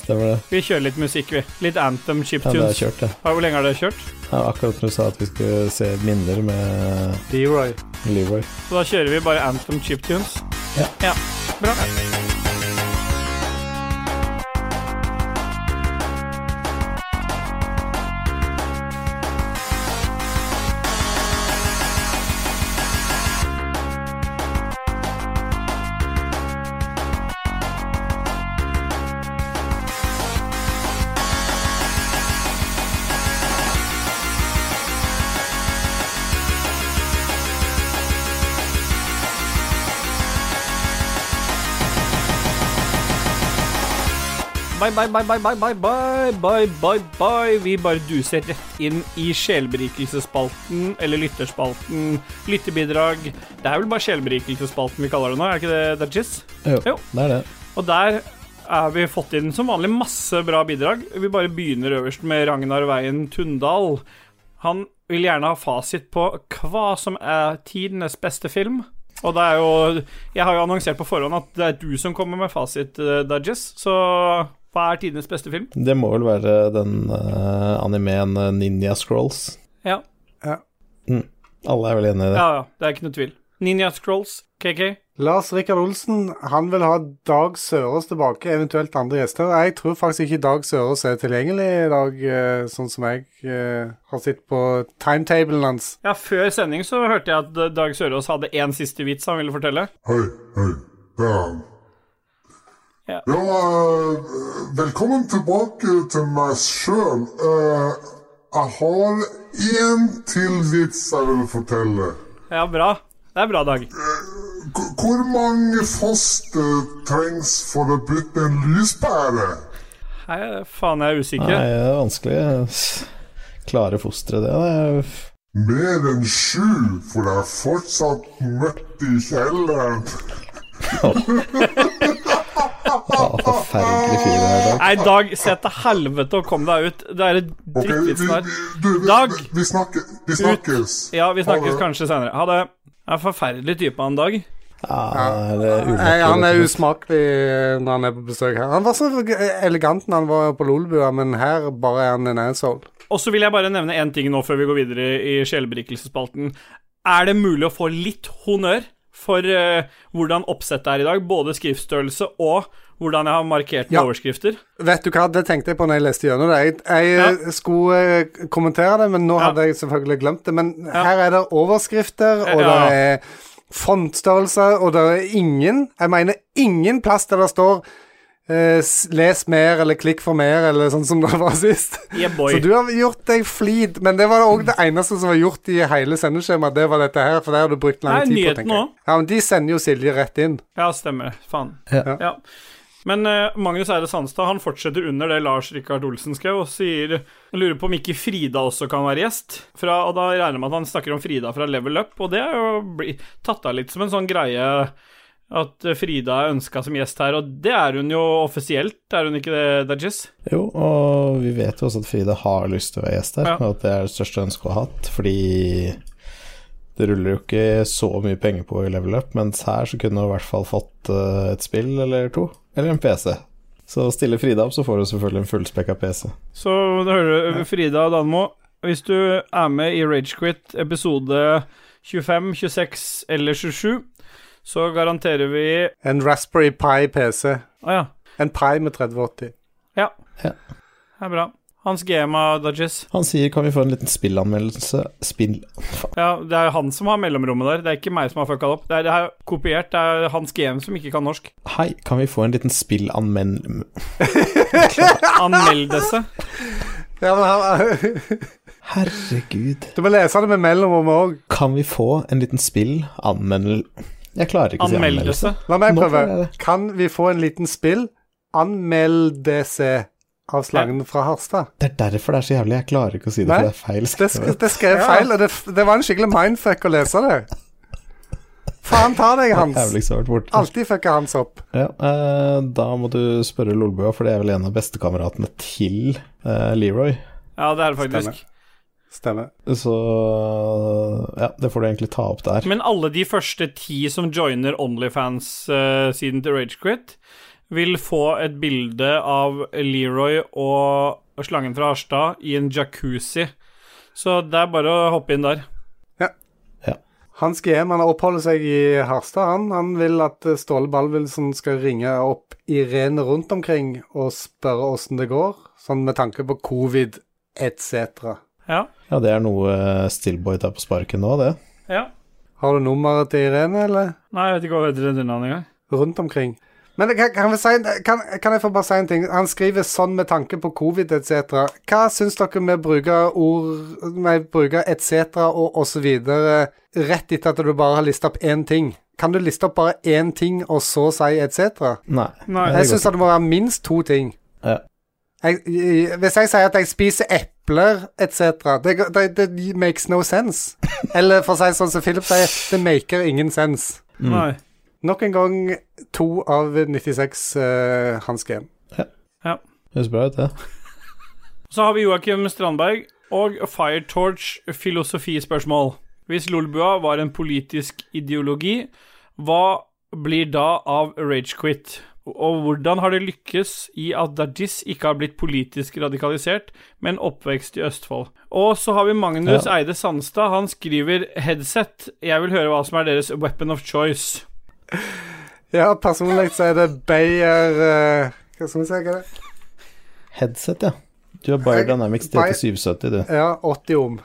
Stemmer det?
Vi kjører litt musikk, vi. Litt Anthem
Ja, det har
chiptunes.
jeg kjørt, det.
Har- Hvor lenge har dere kjørt?
Ja, akkurat når du sa at vi skulle se minner med
D-Roy.
Leroy.
Så da kjører vi bare Anthem chiptunes.
Ja.
ja. Bra. Bye, bye, bye, bye, bye, bye, bye, bye, bye, bye. Vi bare duser rett inn i sjelberikelsesspalten, eller lytterspalten, lytterbidrag. Det er vel bare sjelberikelsesspalten vi kaller det nå, er ikke det, Dajis?
Jo,
Jo.
det er det.
Og der er vi fått inn som vanlig masse bra bidrag. Vi bare begynner øverst med Ragnar Veien Tundal. Han vil gjerne ha fasit på hva som er tidenes beste film. Og det er jo Jeg har jo annonsert på forhånd at det er du som kommer med fasit, eh, Dudges. Så hva er tidenes beste film?
Det må vel være den eh, animeen eh, Ninja Scrolls.
Ja,
Alle er vel enig i det?
ja, ja det er ikke noe tvil. Ninja Scrolls, KK.
Lars Rikard Olsen han vil ha Dag Sørås tilbake, eventuelt andre gjester. Jeg tror faktisk ikke Dag Sørås er tilgjengelig i dag, eh, sånn som jeg eh, har sett på timetablen hans.
Ja, før sending så hørte jeg at eh, Dag Sørås hadde én siste vits han ville fortelle.
Hei, hei. Det er han.
Ja.
Ja, eh, velkommen tilbake til meg sjøl. jeg har én til vits jeg vil fortelle.
Ja, bra. Det er bra, Dag.
K hvor mange foster trengs for å bytte en lyspære?
Hei, faen, jeg er usikker.
Nei, det er vanskelig. Klare fostre, det. det er...
Mer enn sju, for det er fortsatt mørkt i kjelleren.
Ja, forferdelig fyr det er i dag.
Nei, Dag, se til helvete og kom deg ut. Det er et
Ok, vi,
drittvits
vi,
der.
du, vi,
Dag!
vi, snakke, vi snakkes.
Ja, vi snakkes
Ha det.
kanskje senere. Ha det. Jeg er forferdelig type han Dag.
Ja, det er
Nei, han er
uvakkert.
usmakelig eh, når han er på besøk her. Han var så elegant når han var på Lolbua, men her bare er han en asshole.
Og så vil jeg bare nevne én ting nå før vi går videre i sjelberikelsesspalten. Er det mulig å få litt honnør for eh, hvordan oppsettet er i dag. Både skriftstørrelse og hvordan jeg har markert med
Ja.
overskrifter.
Vet du hva, det tenkte jeg på når jeg leste gjennom det. Jeg, jeg eh, skulle eh, kommentere det, men nå
Ja.
hadde jeg selvfølgelig glemt det. Men her er det overskrifter, og
Ja.
det er fontstørrelser, og det er ingen Jeg mener ingen plass der det står eh, s- Les mer, eller klikk for mer, eller sånn som det var sist.
Yeah, boy.
Så du har gjort deg flid, men det var òg det eneste som var gjort i hele sendeskjemaet, det var dette her, for det har du brukt lang
Nei,
tid på,
nyheten
tenker jeg. Ja, men de sender jo Silje rett inn.
Ja, stemmer. Faen.
Ja.
Ja. Men eh, Magnus Eide Sandstad han fortsetter under det Lars Rikard Olsen skrev, og sier han lurer på om ikke Frida også kan være gjest. Fra, og da regner jeg med at han snakker om Frida fra Level Up, og det er jo bli, tatt av litt som en sånn greie at eh, Frida er ønska som gjest her, og det er hun jo offisielt, er hun ikke det, Dajis?
Jo, og vi vet jo også at Frida har lyst til å være gjest her,
Ja.
og at det er det største ønsket hun har hatt, fordi det ruller jo ikke så mye penger på i level up, mens her så kunne hun i hvert fall fått eh, et spill eller to, eller en PC. Så stiller Frida opp, så får hun selvfølgelig en fullspekka PC.
Så da hører du Frida Danmo. Hvis du er med i Ragequit episode 25, 26 eller 27, så garanterer vi Å
En Raspberry Pi-PC.
ja.
En Pi med 3080.
Ja.
Ja.
Det er bra. Hans Gema Dodges.
Han sier kan vi få en liten spillanmeldelse Spill... Faen.
Ja, det er han som har mellomrommet der. Det er ikke meg som har fucka det opp. Det er, det er kopiert. Det er Hans GM som ikke kan norsk.
Hei, kan vi få en liten spillanmel...
Anmeldelse.
Ja, men han,
Herregud.
Du må lese det med mellomrommet òg.
Kan vi få en liten spillanmel... Jeg klarer ikke å si anmeldelse.
Anmeldelse.
La meg
Nå
prøve.
klarer jeg det.
Kan vi få en liten spill? Anmeld DC av Slangen fra Harstad.
Det er derfor det er så jævlig. Jeg klarer ikke å si det,
Nei,
for det er feil.
Det, sk det skrev feil, og det, f- det var en skikkelig mindfuck å lese det. Faen ta deg, Hans.
Jævligst jeg har vært borte.
Alltid fucka Hans opp.
Ja, eh, da må du spørre Lolbua, for det er vel en av bestekameratene til eh, Leroy.
Ja, det er det faktisk.
Stemmer. Stemmer.
Så ja, det får du egentlig ta opp der.
Men alle de første ti som joiner eh, Onlyfans-siden til Ragequit, vil få et bilde av Leroy og og slangen fra Harstad i en jacuzzi. Så det er bare å hoppe inn der.
Hans GM han oppholder seg i Harstad. Han, han vil at eh, Ståle Ballwilson skal ringe opp Irene rundt omkring og spørre åssen det går, sånn med tanke på covid etc.
Ja.
Ja, det er noe eh, Stillboy tar på sparken nå, det.
ja.
Har du nummeret til Irene, eller?
Nei, jeg vet ikke hva heter den navnet engang.
rundt omkring. Men det kan, kan, vi si, kan, kan jeg få bare si en ting? Han skriver sånn med tanke på covid etc. Hva syns dere med å bruke ord med å bruke etc. og osv. rett etter at du bare har lista opp én ting? Kan du liste opp bare én ting og så si etc.?
Nei.
Nei.
Ja, det er
Jeg syns det må være minst to ting.
Ja.
Jeg, jeg- hvis jeg sier at jeg spiser epler etc., det, det, det makes no sense. Eller for å si det sånn som Philip sier, det maker ingen sense.
Mm.
Nei.
Nok en gang to av 96 eh, hans game.
godt. Høres bra ut, det.
Så har vi Joakim Strandberg og Firetorch filosofispørsmål. Hvis Lolbua var en politisk ideologi, hva blir da av Ragequit? Og hvordan har det lykkes i at Dajis ikke har blitt politisk radikalisert, men oppvekst i Østfold? Og så har vi Magnus
Ja.
Eide Sandstad. Han skriver 'headset'. Jeg vil høre hva som er deres weapon of choice.
Ja, personlig så er det Bayer eh, Hva skal vi si, hva er det?
Headset, ja. Du har Biodynamics
Nei.
3770, du.
Ja, 80 ohm.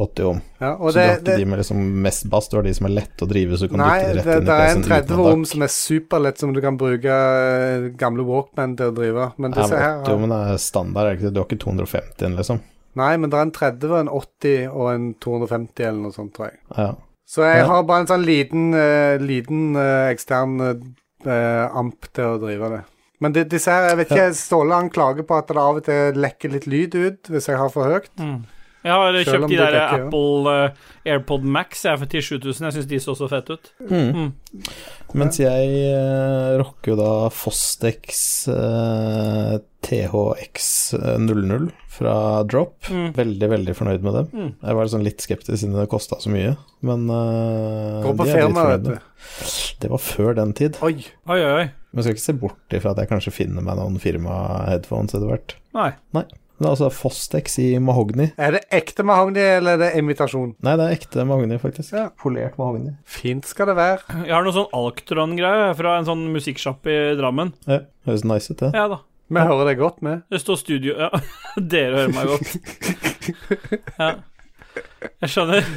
80 ohm.
Ja,
Så
og
du
det,
har ikke
det,
de med liksom mest bass, du har de som er lette å drive, så du kan
nei,
dytte de
det,
rett inn i
det er en
PC-en
30
uten
ohm
adapter.
som er superlett, som du kan bruke eh, gamle Walkman til å drive. Men
Ja,
disse
men
her
80
har,
ohmene er standard, er det ikke det? Du har ikke 250 en, liksom?
Nei, men det er en 30, en 80 og en 250 eller noe sånt, tror jeg.
Ja.
Så jeg
Ja.
har bare en sånn liten, eh, liten eh, ekstern eh, amp til å drive det. Men det, disse her, jeg vet ikke, Ståle han klager på at det av og til lekker litt lyd ut hvis jeg har for høyt.
Jeg har
Mm. Selv
kjøpt
om
de
du
der
dekker, ja.
Apple eh, AirPod Max jeg er for 7000. Jeg syns de så så fett ut.
Mm.
Mens jeg eh, rocker jo da Fostex eh, THX00 fra Drop.
Mm.
Veldig, veldig fornøyd med dem. Jeg var sånn litt skeptisk siden det kosta så mye, men eh,
Går på
de er jeg litt
firma,
fornøyd
vet
med.
du.
Det var før den tid.
Oi.
Oi, oi, oi.
Men jeg skal ikke se bort ifra at jeg kanskje finner meg noen firma-headphones etter hvert.
Nei.
Nei. Det er altså Fostex i mahogni.
Er det ekte mahogni, eller er det imitasjon?
Nei, det er ekte mahogni, faktisk.
Ja.
Polert mahogni.
Fint skal det være.
Jeg har noe sånn Alctron-greie fra en sånn musikksjapp i Drammen.
Ja, høres nice ut, det.
Ja da.
Vi hører det godt med.
Det står studio Ja, dere hører meg godt. Ja. Jeg skjønner.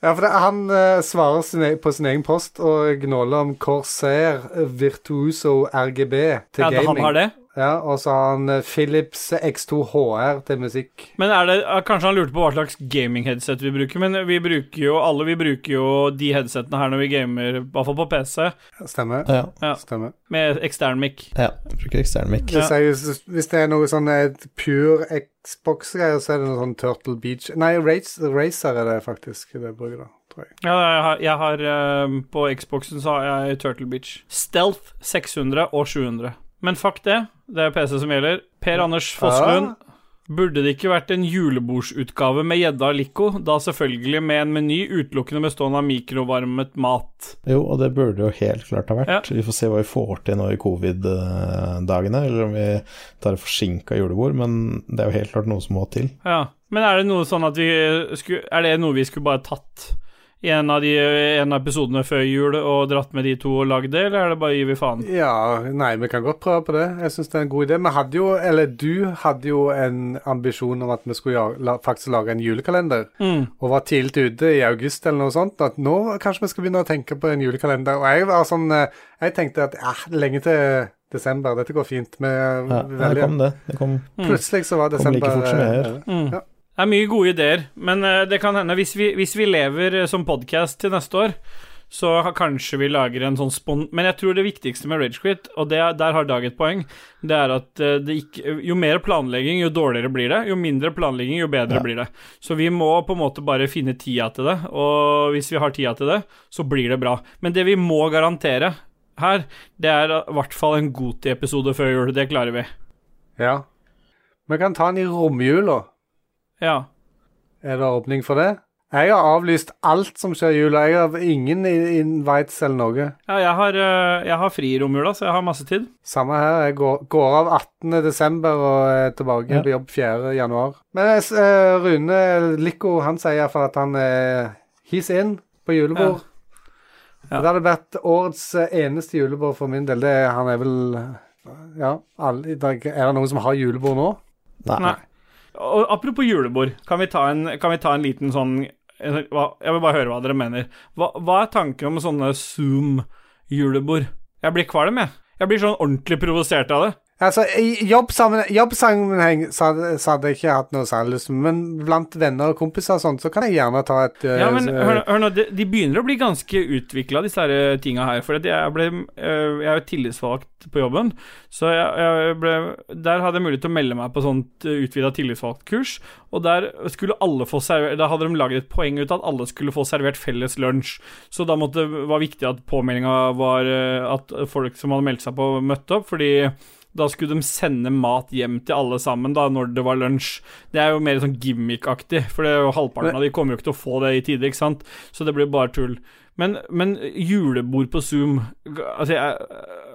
Ja, for det, Han eh, svarer sin, e- på sin egen post og gnåler om Corsair Virtuoso RGB til
Ja,
gaming.
han har det.
Ja, Og så har han eh, Philips X2 HR til musikk.
Men er det, ja, Kanskje han lurte på hva slags gaming-headset vi bruker, men vi bruker jo alle vi bruker jo de headsetene her når vi gamer, i hvert fall på PC,
Stemmer.
Ja,
Ja.
Stemmer.
med ekstern mic.
ja. Jeg bruker ekstern mic.
Ja.
Hvis, jeg, hvis det er noe sånn et pure Xbox-greier, så er det noe sånn Turtle Beach Nei, Race, Racer er det faktisk det bruker, da, tror jeg.
Ja, jeg har, jeg har eh, På Xboxen så har jeg Turtle Beach. Stealth 600 og 700. Men fuck det, det er PC som gjelder. Per Anders Fosslund. Burde det ikke vært en julebordsutgave med gjedda alico? Da selvfølgelig med en meny utelukkende bestående av mikrovarmet mat.
Jo, og det burde jo helt klart ha vært.
Ja.
Vi får se hva vi får til nå i covid-dagene, eller om vi tar et forsinka julebord, men det er jo helt klart noe som må til.
Ja, men er det noe sånn at vi skulle Er det noe vi skulle bare tatt i en av, de, eh, en av episodene før jul og dratt med de to og lagd det, eller er det bare gir vi faen?
Ja, nei, vi kan godt prøve på det. Jeg syns det er en god idé. Vi hadde jo, eller du hadde jo en ambisjon om at vi skulle ja- la, faktisk lage en julekalender,
Mm.
og var tidlig ute i august eller noe sånt, at nå kanskje vi skal begynne å tenke på en julekalender. Og jeg var sånn eh, Jeg tenkte at eh, lenge til desember, dette går fint. Vi
Ja,
vi
det
velger
kom det. det kom.
Plutselig så var
Kom like
desember
fort som jeg
eh,
gjør.
Mm.
Ja.
Det er mye gode ideer, men eh, det kan hende hvis vi, hvis vi lever eh, som podkast til neste år, så ha- kanskje vi lager en sånn spon... Men jeg tror det viktigste med Ragequit, og det, er- der har Dag et poeng, det er at eh, det ikke, jo mer planlegging, jo dårligere blir det. Jo mindre planlegging, jo bedre
Ja.
blir det. Så vi må på en måte bare finne tida til det, og hvis vi har tida til det, så blir det bra. Men det vi må garantere her, det er i hvert fall en Goti-episode før jul. Det klarer vi.
ja. Vi kan ta den i romjula.
Ja.
Er det åpning for det? Jeg har avlyst alt som skjer i jula. Jeg har ingen i- invites eller noe.
Ja, jeg har, eh, jeg har fri i romjula, så jeg har masse tid.
Samme her. Jeg går, går av 18. desember og er tilbake
Ja.
på jobb 4. januar. Men jeg s- eh, Rune Lico, han sier iallfall at han er He's in på julebord.
Ja.
Det hadde vært årets eh, eneste julebord for min del. Det, er- han er vel Ja, alle, i dag- er det noen som har julebord nå?
Nei.
Nei. Og apropos julebord, kan vi ta en, kan vi ta en liten sånn en- hva- Jeg vil bare høre hva dere mener. Hva, hva er tanken om sånne Zoom-julebord? Jeg blir kvalm, jeg. Jeg blir sånn ordentlig provosert av det.
Altså, I jobbsammenheng, jobbsammenheng så, hadde, så hadde jeg ikke hatt noe særlig lyst, men blant venner og kompiser og sånn, så kan jeg gjerne ta et eh,
Ja, men
s-
hør, hør nå, de, de begynner å bli ganske utvikla, disse her eh, tinga her. For at jeg, ble, øh, jeg er jo tillitsvalgt på jobben, så jeg, jeg ble, der hadde jeg mulighet til å melde meg på sånt eh, utvida tillitsvalgtkurs. Og der skulle alle få servert Da hadde de laget et poeng ut av at alle skulle få servert felles lunsj. Så da måtte, var viktig at påmeldinga var øh, at folk som hadde meldt seg på, møtte opp, fordi da skulle de sende mat hjem til alle sammen da, når det var lunsj. Det er jo mer sånn gimmick-aktig, for det er jo halvparten av de kommer jo ikke til å få det i tide, ikke sant? Så det blir bare tull. Men, men julebord på Zoom Altså, jeg,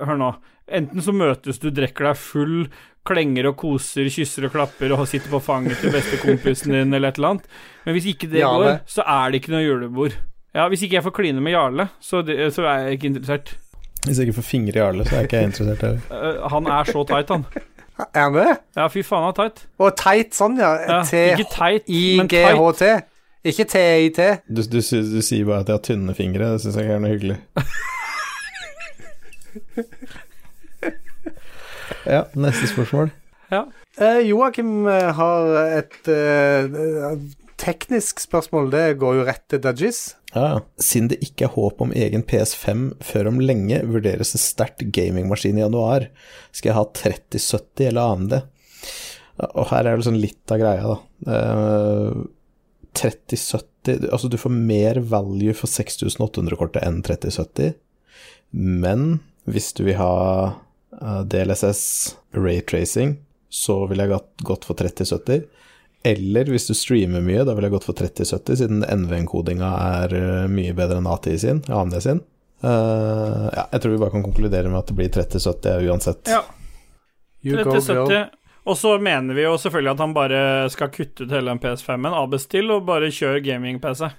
hør nå. Enten så møtes du, drikker deg full, klenger og koser, kysser og klapper og sitter på fanget til bestekompisen din, eller et eller annet. Men hvis ikke det
Jarle.
går, så er det ikke noe julebord. Ja, Hvis ikke jeg får kline med Jarle, så, det, så er jeg ikke interessert.
Hvis jeg ikke får fingre i Jarle, så er ikke jeg interessert heller.
Eh, han er så tight, han.
Er han det?
Ja, fy faen, han er tight.
Og teit sånn, ja.
Ja, ikke teit, men tight.
T-I-G-H-T. Ikke T-I-T.
Du, du, sy- du sier bare at jeg har tynne fingre, det syns jeg ikke er noe hyggelig. Ja, neste spørsmål.
Eh, Joakim eh, har et eh, eh, teknisk spørsmål. Det går jo rett til Dudgies.
Ja, ja. Siden det ikke er håp om egen PS5 før om lenge, vurderes en sterkt gamingmaskin i januar. Skal jeg ha 3070 eller AMD? Og her er det sånn litt av greia, da. Eh, 3070 du- Altså, du får mer value for 6800-kortet enn 3070, men hvis du vil ha eh, DLSS raytracing, så ville jeg gått- gått for 3070. Eller hvis du streamer mye, da ville jeg gått for 3070, siden NVN-kodinga er eh, mye bedre enn ATI sin, AMD sin. Eh, ja, jeg tror vi bare kan konkludere med at det blir 3070 uansett.
Ja.
You go, girl.
3070. Og så mener vi jo selvfølgelig at han bare skal kutte ut hele den PS5-en, abestill, og bare kjøre gaming-PC.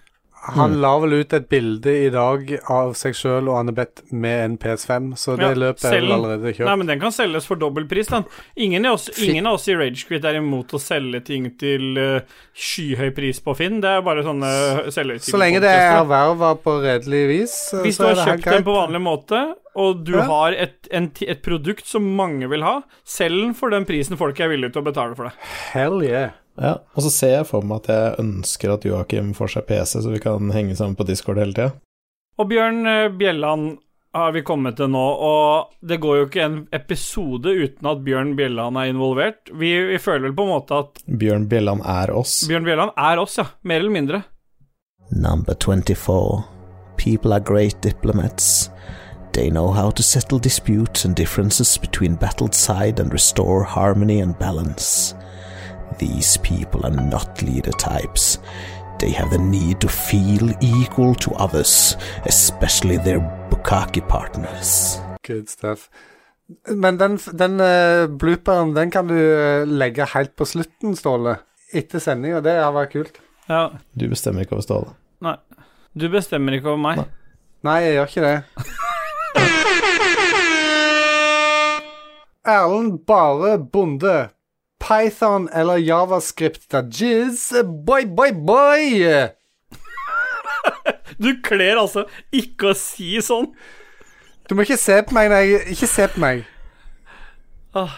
Han la vel ut et bilde i dag av seg sjøl og Annebeth med en PS5, så det
Ja,
løpet er
selv-
vel allerede
Nei,
kjørt.
men den kan selges for dobbel pris, den. Ingen, av oss, ingen av oss i Ragequit er imot å selge ting til eh, skyhøy pris på Finn. Det er bare sånne selvhøytider.
Så lenge det er erverva på redelig vis, eh,
Hvis du
så
har
er det helt
kjøpt den
greit.
på vanlig måte, og du
Ja.
har et, en, ti- et produkt som mange vil ha, selg den for den prisen folk er villige til å betale for det.
Hell yeah.
Ja, og så ser jeg for meg at jeg ønsker at Joakim får seg PC, så vi kan henge sammen på Discord hele tida.
Og Bjørn eh, Bjelland har vi kommet til nå, og det går jo ikke en episode uten at Bjørn Bjelland er involvert. Vi, vi føler vel på en måte at
Bjørn Bjelland er oss.
Bjørn Bjelland er oss, ja. Mer eller mindre.
Number 24. People are great diplomats. They know how to settle disputes and differences between battled side and restore harmony and balance. These people are not leader types. They have the need to feel equal to others, especially their bukkake partners.
Good stuff. Men den, den eh, blooperen, den kan du eh, legge helt på slutten, Ståle. Etter sendinga. Det har vært kult.
Ja.
Du bestemmer ikke over Ståle.
Nei. Du bestemmer ikke over meg.
Nei, jeg gjør ikke det. Erlend Bare Bonde. Python eller javascript da jizz? Boy, boy, boy!
Du kler altså ikke å si sånn.
Du må ikke se på meg når jeg Ikke se på meg.
Eh,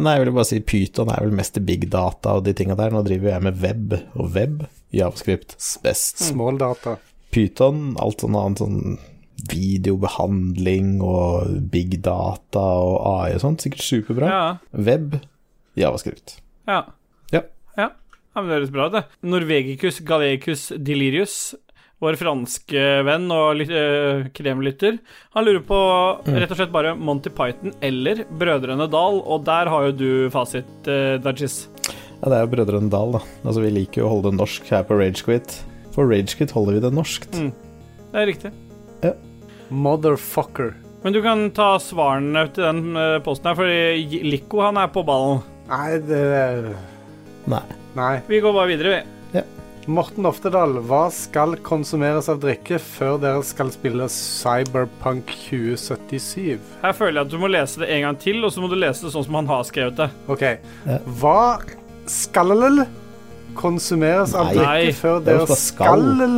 nei, jeg ville bare si Pyton er vel mest big data og de tinga der. Nå driver jo jeg med web, og web, javascript, best.
Mm. Småldata.
Pyton, alt sånn annet sånn videobehandling og big data og AI og sånt, sikkert superbra.
Ja,
Web, javascript.
ja.
Ja.
Ja, ja men det høres bra ut, det. Norvegicus galecus delirius, vår franske venn og litt, øh, kremlytter, han lurer på rett og slett bare Monty Python eller Brødrene Dal, og der har jo du fasit, øh, Dajis.
Ja, det er jo Brødrene Dal, da. Altså, vi liker jo å holde det norsk her på Ragequit. For Ragequit holder vi det norskt.
Mm. Det er riktig.
Motherfucker.
Men du kan ta svarene til den øh, posten her, for Lico han er på ballen.
Nei, det
Nei.
Nei.
Vi går bare videre, vi.
Morten Oftedal, hva skal konsumeres av drikke før dere skal spille Cyberpunk 2077?
Her føler jeg at du må lese det en gang til, og så må du lese det sånn som han har skrevet det.
OK. Hva skal konsumeres av
Nei.
Nei,
drikke før
det er
dere
jo fra
skal
skal.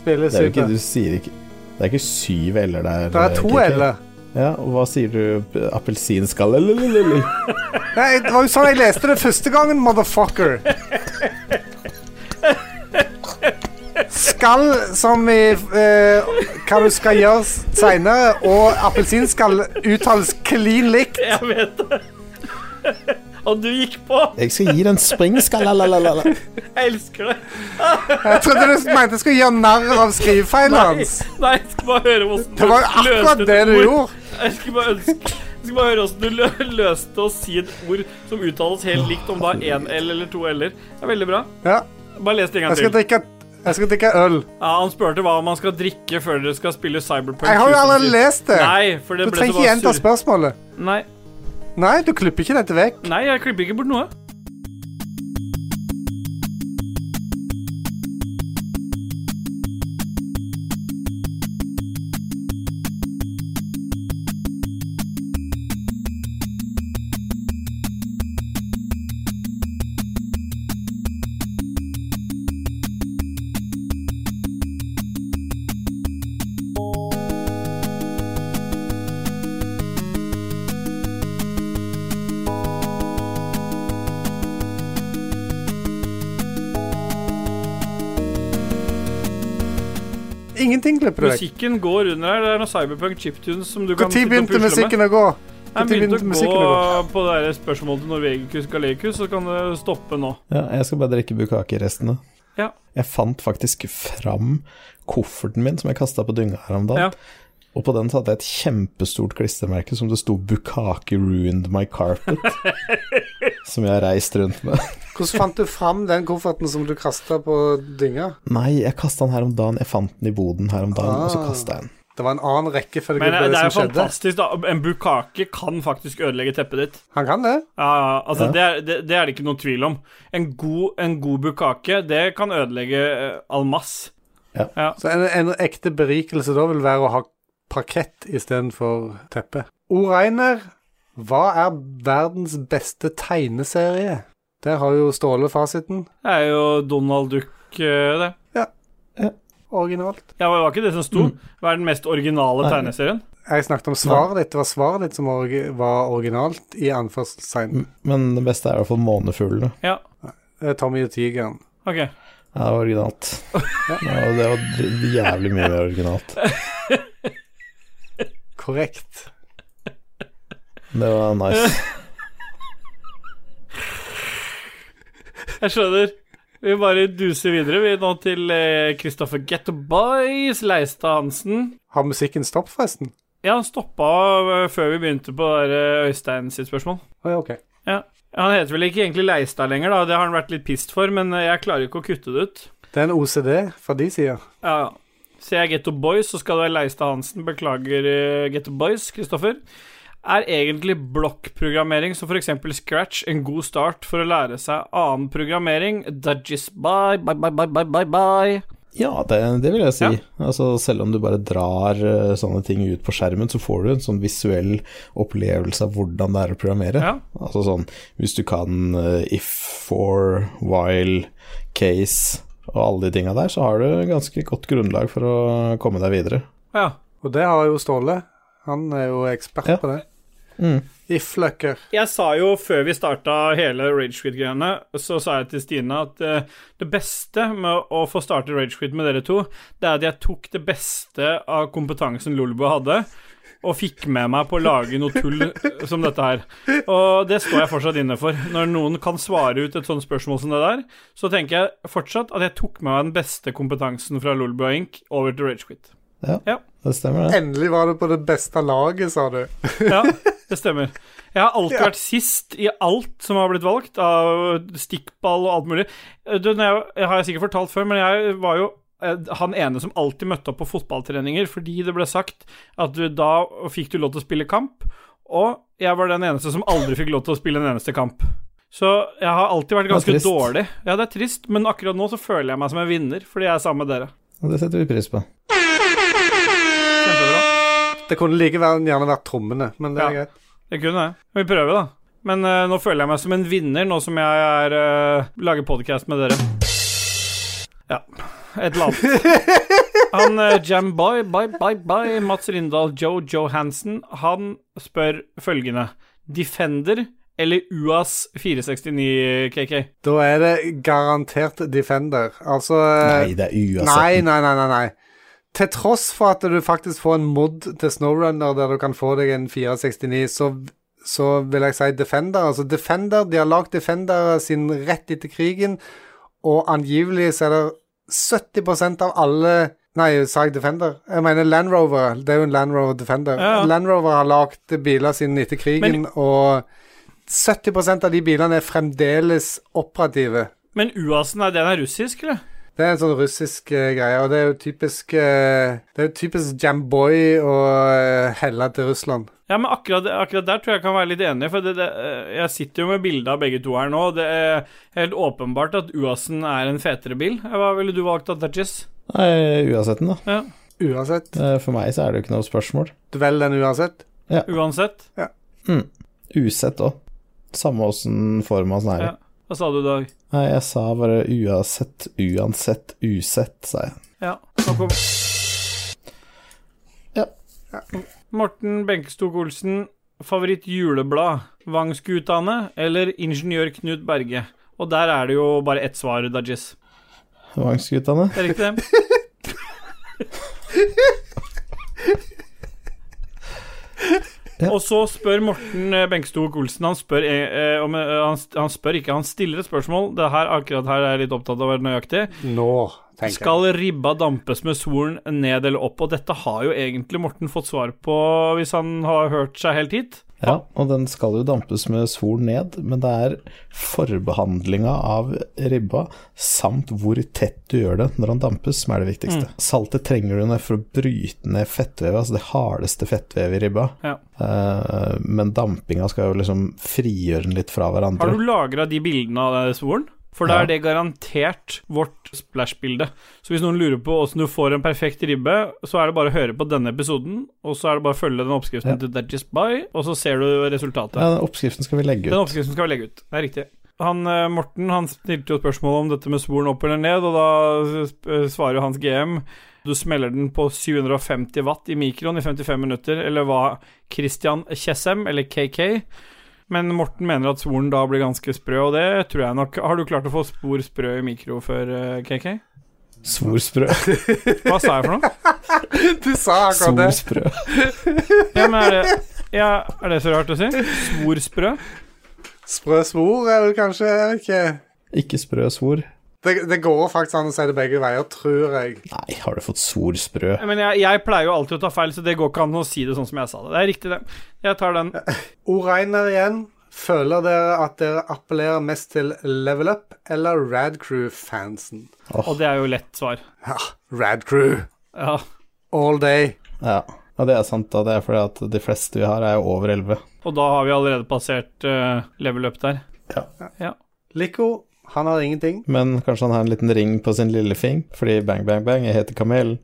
spille
Det er jo ikke,
Cyber?
du sier ikke Det er ikke syv eller der. eh,
Det er to
Kiki.
L-er.
Ja, og hva sier du? Appelsinskalle? Lululul.
Nei, Det var jo sånn jeg leste det første gangen, motherfucker. Skall som i eh, hva du skal gjøre seinere, og appelsinskall uttales klin likt.
Jeg vet det. og du gikk på.
Jeg skal gi den springskalle
Jeg elsker det.
Jeg trodde du mente jeg skulle gjøre narr av skrivefeilen
Nei,
hans.
nei, jeg skal bare høre hvordan
Det var jo akkurat det du
ord.
gjorde.
Jeg skal bare ønske jeg skal bare høre hvordan du lø- løste å si et ord som uttales helt likt, om da én L eller to L-er. Det er veldig bra.
Ja,
Bare les det en
jeg
gang
skal
til.
drikke, jeg skal drikke øl.
Ja, han spurte hva man skal drikke før dere skal spille Cyberpunk.
Jeg har jo allerede
2077.
lest det.
Nei, for det
Du
ble så
trenger ikke
bare
gjenta
surr.
spørsmålet.
Nei,
Nei, du klipper ikke dette vekk.
nei, jeg klipper ikke bort noe.
Ingenting klipper du vekk.
Musikken går under her. Det er noen Cyberpunk chiptunes som du kan
Når begynte musikken å gå?
Den
Når begynte
begynte å
musikken å
gå
gå?
på det der spørsmålet til Norvegicus Galecus, så kan det stoppe nå.
Ja, jeg skal bare drikke bukkake-restene.
Ja.
Jeg fant faktisk fram kofferten min som jeg kasta på dynga her om dagen.
Ja.
Og på den så hadde jeg et kjempestort klistremerke som det sto 'Bukake ruined my carpet'. som jeg har reist rundt med.
Hvordan fant du fram den kofferten som du kasta på dynga?
Nei, jeg kasta den her om dagen. Jeg fant den i boden her om dagen, og så
Ah.
kasta jeg den.
Det var en annen rekkefølge
Men
på
det,
det,
det er jo
eh, som skjedde.
fantastisk, da. En bukake kan faktisk ødelegge teppet ditt.
Han kan det.
Ja, ja, altså Det, er, det, det er det ikke noen tvil om. En god, en god bukake, det kan ødelegge eh, all mass.
Så en, en ekte berikelse da vil være å ha parkett istedenfor teppe. O. Reiner, hva er verdens beste tegneserie? Der har jo Ståle fasiten.
Det er jo Donald Duck, eh, det.
Originalt.
Ja, det var ikke det som sto. Hva er den mest originale tegneserien?
Jeg snakket om svaret ditt. Det var svaret ditt som orgi var originalt, i anførselstegn.
Men det beste er i hvert fall månefuglene.
Ja,
Eh, Tommy og tigeren.
ok.
Ja, det var originalt. Ja, det var dr- jævlig mye mer originalt.
Korrekt.
Det var nice.
Jeg skjønner. Vi bare duser videre, vi, nå til Kristoffer uh, Gettoboys, Leistad Hansen.
Har musikken stoppet, forresten?
Ja, han stoppa eh, før vi begynte på det der, eh, Øystein sitt spørsmål.
Å ja, OK.
Ja. Han heter vel ikke egentlig Leistad lenger, da. Det har han vært litt pissed for, men eh, jeg klarer ikke å kutte det ut.
Det er en OCD fra de sider.
Ja, ja. Ser jeg Getto Boys, så skal det være Leistad Hansen. Beklager, eh, Getto Boys, Kristoffer. Er egentlig blokkprogrammering, som f.eks. Scratch, en god start for å lære seg annen programmering? Dudgies, bye, bye, bye, bye, bye, bye, bye.
Ja, det, det vil jeg si.
Ja.
Altså, selv om du bare drar eh, sånne ting ut på skjermen, så får du en sånn visuell opplevelse av hvordan det er å programmere.
Ja.
Altså sånn, hvis du kan eh, if, for, while, case og alle de tinga der, så har du ganske godt grunnlag for å komme deg videre.
Ja.
Og det har jo Ståle. Han er jo ekspert
Ja.
på det.
Mm.
If-løkker.
Jeg sa jo før vi starta hele Ragequit-greiene, så sa jeg til Stine at eh, det beste med å få starte Ragequit med dere to, det er at jeg tok det beste av kompetansen Lolbo hadde, og fikk med meg på å lage noe tull som dette her. Og det står jeg fortsatt inne for. Når noen kan svare ut et sånt spørsmål som det der, så tenker jeg fortsatt at jeg tok med meg den beste kompetansen fra Lolbo og Inc. over til Ragequit.
Ja,
Ja.
det stemmer, det.
Endelig var du på det beste laget, sa du.
Ja, det stemmer. Jeg har alltid vært sist i alt som har blitt valgt, av stikkball og alt mulig. Eh, Du, når jeg, jeg har jeg sikkert fortalt før, men jeg var jo eh, han ene som alltid møtte opp på fotballtreninger fordi det ble sagt at du, da fikk du lov til å spille kamp, og jeg var den eneste som aldri fikk lov til å spille en eneste kamp. Så jeg har alltid vært
er
ganske
trist.
dårlig. Ja, det er trist, men akkurat nå så føler jeg meg som en vinner fordi jeg er sammen med dere.
Og det setter vi pris på.
Kjempebra.
Det kunne likevel gjerne vært trommene, men det er
Ja.
greit.
Det kunne jeg. Vi prøver, da. Men eh, nå føler jeg meg som en vinner, nå som jeg er, eh, lager podkast med dere. Ja. Et eller annet. Han uh, Jamboy, bye, bye, bye, Mats Rindal, Joe Johansen, han spør følgende Defender eller UAS 469 KK?
Da er det garantert Defender. Altså
Nei, det er
nei,
uansett.
nei, nei, nei, nei. Til tross for at du faktisk får en mod til Snowrunner der du kan få deg en 469, så, så vil jeg si Defender. Altså Defender, De har lagd Defender sin rett etter krigen, og angivelig så er det 70 av alle Nei, sa jeg Defender? Jeg mener Land Rover. Det er jo en Land Rover Defender.
Ja, ja.
Land Rover har lagd biler siden etter krigen, og 70 av de bilene er fremdeles operative.
Men UAS-en, er den er russisk, eller?
Det er en sånn russisk eh, greie, og det er jo typisk eh, Det er jo typisk Jamboy å eh, helle til Russland.
Ja, men akkurat, akkurat der tror jeg jeg kan være litt enig, for det, det, eh, jeg sitter jo med bilde av begge to her nå. og Det er helt åpenbart at UAS-en er en fetere bil. Hva ville du valgt av Dudges?
Nei, uansett, da.
Ja,
Uansett.
Eh, For meg så er det jo ikke noe spørsmål.
Du velger den uansett.
uansett.
Usett òg. Samme åssen forma sånn er.
Ja. Hva sa du, Dag?
Nei, jeg sa bare uansett, uansett, usett, sa jeg.
Ja, nå kom
Ja.
Morten Benkestok Olsen, favoritt juleblad? Vangsgutane eller Ingeniør Knut Berge? Og der er det jo bare ett svar, Dudges.
Vangsguttene.
Det er riktig, det.
Ja.
Og så spør Morten eh, Benkstok Olsen Han spør, eh, eh, om, eh, han, han spør ikke, han stiller et spørsmål. Det her, akkurat her er jeg litt opptatt av å være nøyaktig.
Nå, tenker jeg.
Skal ribba dampes med solen ned eller opp? Og dette har jo egentlig Morten fått svar på, hvis han har hørt seg helt hit.
Ja, og den skal jo dampes med svor ned, men det er forbehandlinga av ribba samt hvor tett du gjør det når den dampes, som er det viktigste.
Mm.
Saltet trenger du ned for å bryte ned fettvevet, altså det hardeste fettvevet i ribba.
Ja.
Eh, men dampinga skal jo liksom frigjøre den litt fra hverandre.
Har du lagra de bildene av den svoren? For da
Ja.
er det garantert vårt splash-bilde. Så hvis noen lurer på åssen du får en perfekt ribbe, så er det bare å høre på denne episoden, og så er det bare å følge den oppskriften
Ja.
til Dudgies By, og så ser du resultatet.
Ja, den oppskriften skal vi legge
Den
ut.
oppskriften skal vi legge ut. Det er riktig. Han, eh, Morten han stilte jo spørsmål om dette med sporen opp eller ned, og da sp- eh, svarer jo hans GM du smeller den på 750 watt i mikroen i 55 minutter, eller hva Christian Kjessem, eller KK Men Morten mener at sporen da blir ganske sprø, og det tror jeg nok. Har du klart å få spor sprø i mikro før eh, KK?
Svorsprø.
Hva sa jeg for noe?
Du sa akkurat det.
Svorsprø.
Ja, men er det, ja, er det så rart å si? Svor sprø?
Sprø svor er vel kanskje Jeg vet ikke.
Ikke sprø svor.
Det, det går faktisk an å si det begge veier, tror jeg.
Nei, har du fått svorsprø?
Men jeg, jeg pleier jo alltid å ta feil, så det går ikke an å si det sånn som jeg sa det. Det er riktig, det. Jeg tar den.
Oreiner igjen. Føler dere at dere appellerer mest til Level Up eller Rad Crew-fansen?
Og det er jo lett svar.
Ja, Rad Crew
Ja.
all day.
Ja. ja, det er sant, da. Det er fordi at de fleste vi har, er jo over 11.
Og da har vi allerede passert eh, level up der.
Lico, han har ingenting.
Men kanskje han har en liten ring på sin lillefing, fordi bang, bang, bang, jeg heter Kamel.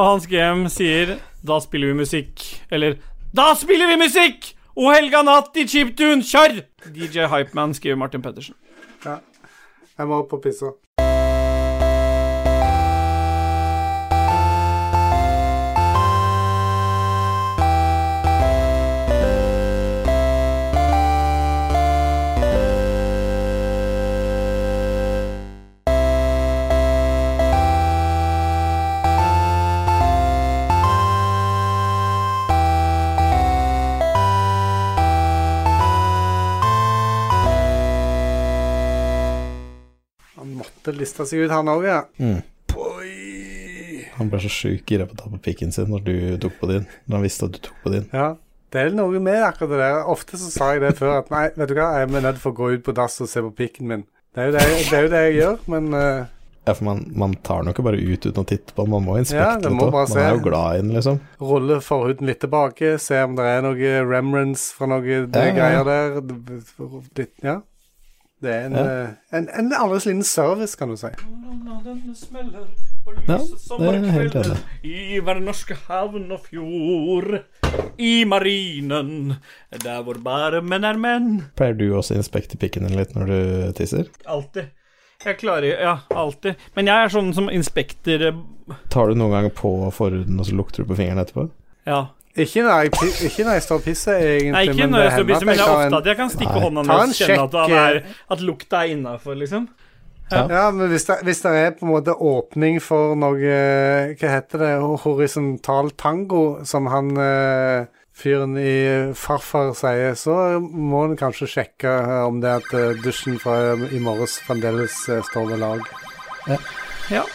Og Hans GM sier 'da spiller vi musikk', eller 'da spiller vi musikk'! O helga natt i chiptune, kjør! DJ Hypeman skriver Martin Pettersen.
Jeg må opp og pisse. Han måtte liste seg ut, han òg, ja. Boy.
Han ble så sjukt gira på å ta på pikken sin når du tok på din, når han visste at du tok på din.
Ja. Det er noe med akkurat det der. Ofte så sa jeg det før at nei, vet du hva, jeg er nødt for å gå ut på dass og se på pikken min. Det er jo det, det, er jo det jeg gjør, men eh,
Ja, for man, man tar den jo ikke bare ut uten å titte på den, man må
Ja,
inspekte
det
litt
må
òg.
bare
Man er
se.
jo glad i den, liksom.
rulle forhuden litt tilbake, se om det er noe remrence fra noe det
Ja, ja.
greier der. Litt, ja. Det er en,
Ja.
eh, en, en annerledes liten service, kan du si.
Ja, det er jeg helt enig. i.
I hver norske havn og fjord, i marinen, der hvor bare menn er menn.
Pleier du også å inspekte pikken din litt når du tisser?
Alltid. Jeg klarer Ja, alltid. Men jeg er sånn som inspekter eh,
Tar du noen ganger på forhuden, og så lukter du på fingeren etterpå?
Ja.
Ikke når jeg, pi- ikke når jeg står og pisser, egentlig.
Nei, ikke
men
når
det
jeg står og
hender
pisser, men det er
tar en-
ofte at jeg kan stikke
Nei.
hånda
Ta
ned og
en
kjenne at, han er,
sjekk,
at lukta er innafor, liksom.
Ja, men hvis det, hvis det er på en måte åpning for noe eh, Hva heter det? Horisontal tango, som han eh, fyren i Farfar sier, så må en kanskje sjekke om det at eh, dusjen fra i morges fremdeles eh, står ved lag.
Ja.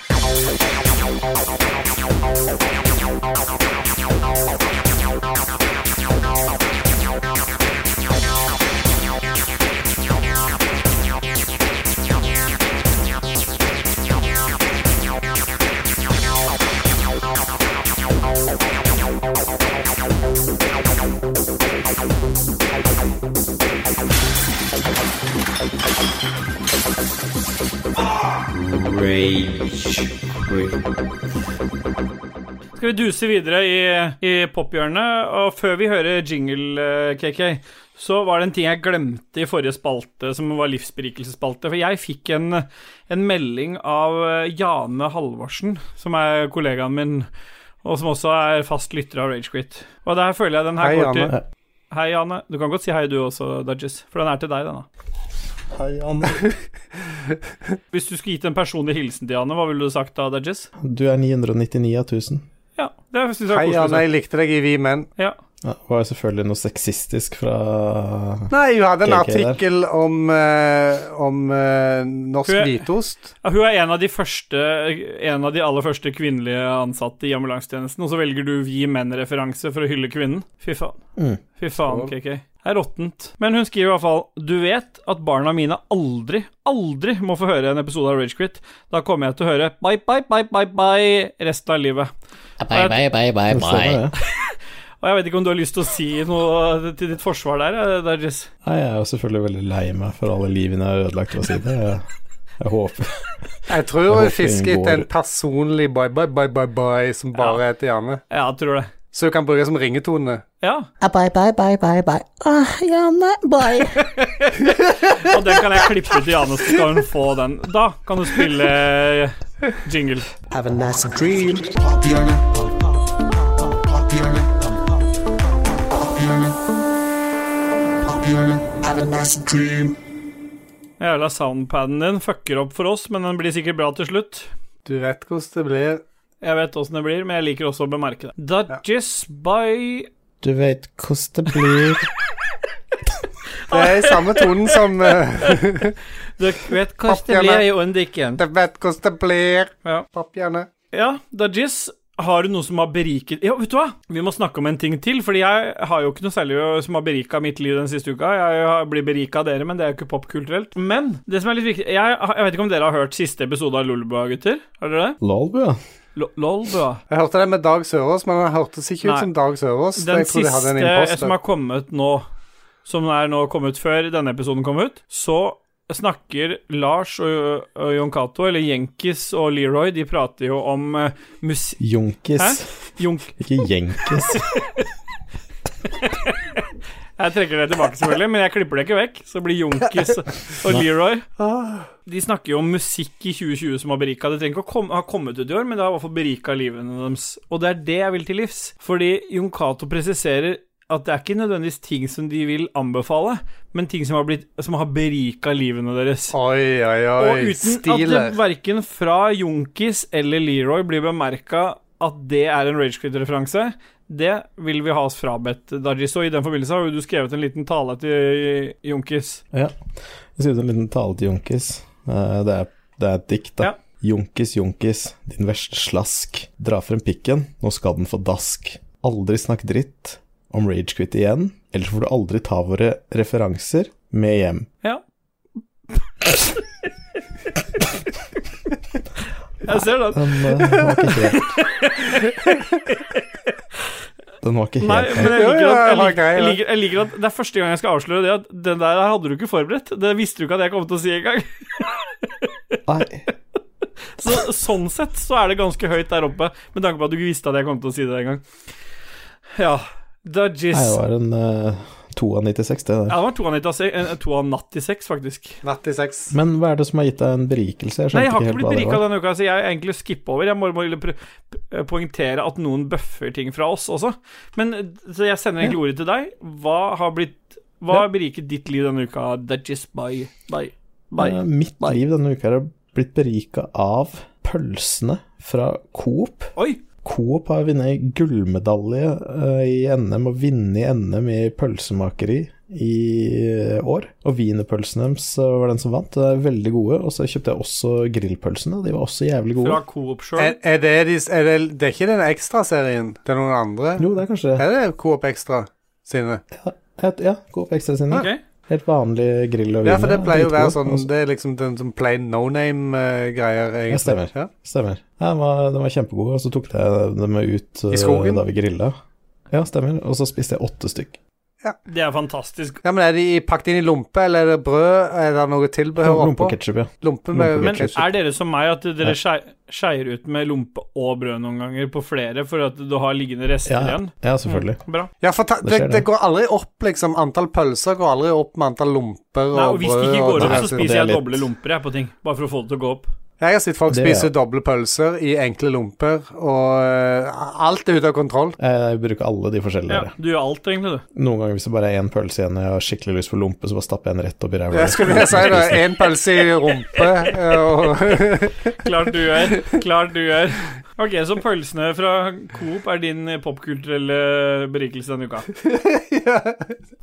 Skal vi duse videre i, i pophjørnet? Og før vi hører jingle, eh, KK, så var det en ting jeg glemte i forrige spalte, som var livsberikelsesspalte. For jeg fikk en, en melding av eh, Jane Halvorsen, som er kollegaen min, og som også er fast lytter av Ragequit. Og der føler jeg den her
Hei,
går til
Jane.
Hei, Jane. Du kan godt si hei, du også, Dudges. For den er til deg, denne.
Hei, Anne.
Hvis du skulle gitt en personlig hilsen til Janne, hva ville du sagt da, Dudges?
Du er 999 av 1000.
Ja, det synes jeg
Hei,
er
Janne.
koselig.
Jeg likte deg i Vi menn.
Ja.
Ja, det var jo selvfølgelig noe sexistisk fra
Nei, hun hadde en
KK der.
artikkel om, eh, om eh, norsk
Hun er-
hvitost.
Ja, Hun er en av de første En av de aller første kvinnelige ansatte i ambulansetjenesten, og så velger du vi menn-referanse for å hylle kvinnen. Fy faen.
Mm.
Fy faen, KK. Det er råttent. Men hun skriver i hvert fall Du vet at barna mine aldri, aldri må få høre en episode av Ragequit. Da kommer jeg til å høre bye, bye, bye, bye, bye resten av livet.
Bye, bye, bye, bye,
Det stemmer,
bye.
det.
Og jeg vet ikke om du har lyst til å si noe til ditt forsvar der, eh, Dargis?
Nei, jeg er jo selvfølgelig veldig lei meg for alle livene jeg har ødelagt ved å si det. Jeg, jeg håper
Jeg tror hun
håper
fisker
ingen
etter en
går-
personlig bye-bye-bye-bye-bye som bare er til Janne.
Ja, jeg tror det.
Så hun kan bruke som ringetone.
Ja,
Bye, bye, bye, bye, bye. Ah, Janne, bye.
og den kan jeg klippe ut i Janne, så skal hun få den. Da kan du spille eh, jingle.
Have a nice dream.
Papirene. Papirene. Papirene. Papirene.
Have a nice dream.
Jævla soundpaden din fucker opp for oss, men den blir sikkert bra til slutt.
Du vet hvordan det blir.
Jeg vet åssen det blir, men jeg liker også å bemerke det. Dudges by
Du vet hvordan det blir.
Det er i samme tonen som eh,
Du vet hva det
Papjerne.
blir i åndikken.
Du vet hvordan det blir.
Ja.
Papp-Janne.
Ja, Dudges, har du noe som har beriket Ja, vet du hva? Vi må snakke om en ting til, fordi jeg har jo ikke noe særlig som har berika mitt liv den siste uka. Jeg har- blir berika av dere, men det er jo ikke popkulturelt. Men det som er litt viktig jeg, jeg vet ikke om dere har hørt siste episode av Lolbua, gutter? Har dere det?
Lolbu, ja.
Lo- Lolbua.
Jeg hørte det med Dag Sørås, men han hørtes ikke ut
Nei.
som Dag Sørås.
Den
jeg tror de hadde en
siste
imposter.
som har kommet nå, som er nå kommet før denne episoden kom ut, så snakker Lars og, og Jon Cato, eller Jenkis og Leroy, de prater jo om eh, mus...
Junkis.
Junk...
Ikke Jenkis.
Jeg trekker det tilbake, selvfølgelig, men jeg klipper det ikke vekk. Så blir Junkis og Leroy De snakker jo om musikk i 2020 som har berika. Det trenger ikke å komme, ha kommet ut i år, men det har i hvert fall berika livene deres. Og det er det jeg vil til livs. Fordi Jon Cato presiserer at det er ikke nødvendigvis ting som de vil anbefale, men ting som har, blitt, som har berika livene deres.
Oi, oi,
Og
oi.
uten at det
Stilet.
verken fra Junkis eller Leroy blir bemerka at det er en Ragequit-referanse, det vil vi ha oss frabedt, Dargis. Og i den forbindelse har jo du skrevet en liten tale til Junkis.
Ja. Jeg skrev en liten tale til Junkis. Eh, Det er, det er et dikt, da.
Ja.
Junkis, Junkis, din verste slask. Dra frem pikken, nå skal den få dask. Aldri snakk dritt om Ragequit igjen, ellers får du aldri ta våre referanser med hjem.
Ja. Jeg ser den.
Den, eh, den var ikke helt Den var ikke helt
Nei, men jeg liker, at, jeg, liker,
Jo, jo, det var
jeg,
grei,
liker, jeg liker at det er første gang jeg skal avsløre det, at den der hadde du ikke forberedt. Det visste du ikke at jeg kom til å si engang.
Nei.
Så, sånn sett så er det ganske høyt der oppe, med tanke på at du ikke visste at jeg kom til å si det engang. Ja. Dudgies.
Nei, det var en eh, 2 av 96, det der.
Ja, det var to av, 96, eh, to av natt til seks, faktisk.
Natt i seks.
Men hva er det som har gitt deg en berikelse?
Nei,
Jeg skjønte
jeg har ikke
helt
blitt
hva det
berika
var.
denne uka, så jeg har egentlig skippa over. Jeg må bare pr- pr- poengtere at noen bøffer ting fra oss også. Men eh, Så jeg sender egentlig ordet til deg. Hva har blitt Hva
Ja.
har beriket ditt liv denne uka? Dudgies, bye, bye,
Eh,
bye.
Mitt liv denne uka er blitt berika av pølsene fra Coop.
Oi!
Coop har vunnet gullmedalje eh, i NM og vunnet i NM i pølsemakeri i eh, år. Og wienerpølsene deres eh, var den som vant. De er veldig gode. Og så kjøpte jeg også grillpølsene. De var også jævlig gode.
Fra Coop
Er,
Eh,
Shore.
er det, de, er det, det er ikke den ekstraserien? Det er noen andre?
Jo, det er kanskje det.
Er det Coop Extra sine?
Ja, ja Coop Extra sine.
Ok.
Helt vanlig grill og
Ja, for det
wiener,
pleier jo å være
dritgod.
sånn
Og så-
Det er liksom den som plain no name-greier, egentlig.
stemmer.
Ja.
Stemmer. Ja, den var, den var kjempegod, og så tok jeg dem ut
I skogen?
eh, da vi grilla. Ja, stemmer. Og så spiste jeg åtte stykk.
Det er fantastisk.
ja, men er de pakket inn i lompe, eller er det brød? Er det noe tilbehør
Lompe
oppå?
og ketsjup, ja.
Lompe med
lompe og
Men
ketchup.
ketchup.
er dere som meg, at
Nei.
dere skei- skeier ut med lompe og brød noen ganger på flere for at du har liggende rester
Ja,
igjen?
ja selvfølgelig.
Bra.
Ja, for ta,
Det
det,
skjer,
det
det.
går aldri opp, liksom. Antall pølser går aldri opp med antall lomper
Nei, og
og
hvis det
brød.
ikke går
og
opp,
Nei,
så
det-
det
spiser
er
jeg
litt-
doble lomper jeg på ting. Bare for å få det til å gå opp.
Jeg har sett folk
Det-
spise doble pølser i enkle lomper, og eh, alt er ute av kontroll.
Jeg bruker alle de forskjellige.
Ja,
der,
du gjør alt, egentlig, du.
ja. Noen ganger hvis det bare er én pølse igjen og jeg har skikkelig lyst på lompe, så bare stapper jeg den rett opp i ræva.
Jeg skulle si det. Én pølse i rumpe eh, og
Klart du gjør. Klart du gjør. Ok, så pølsene fra Coop er din popkulturelle berikelse denne uka.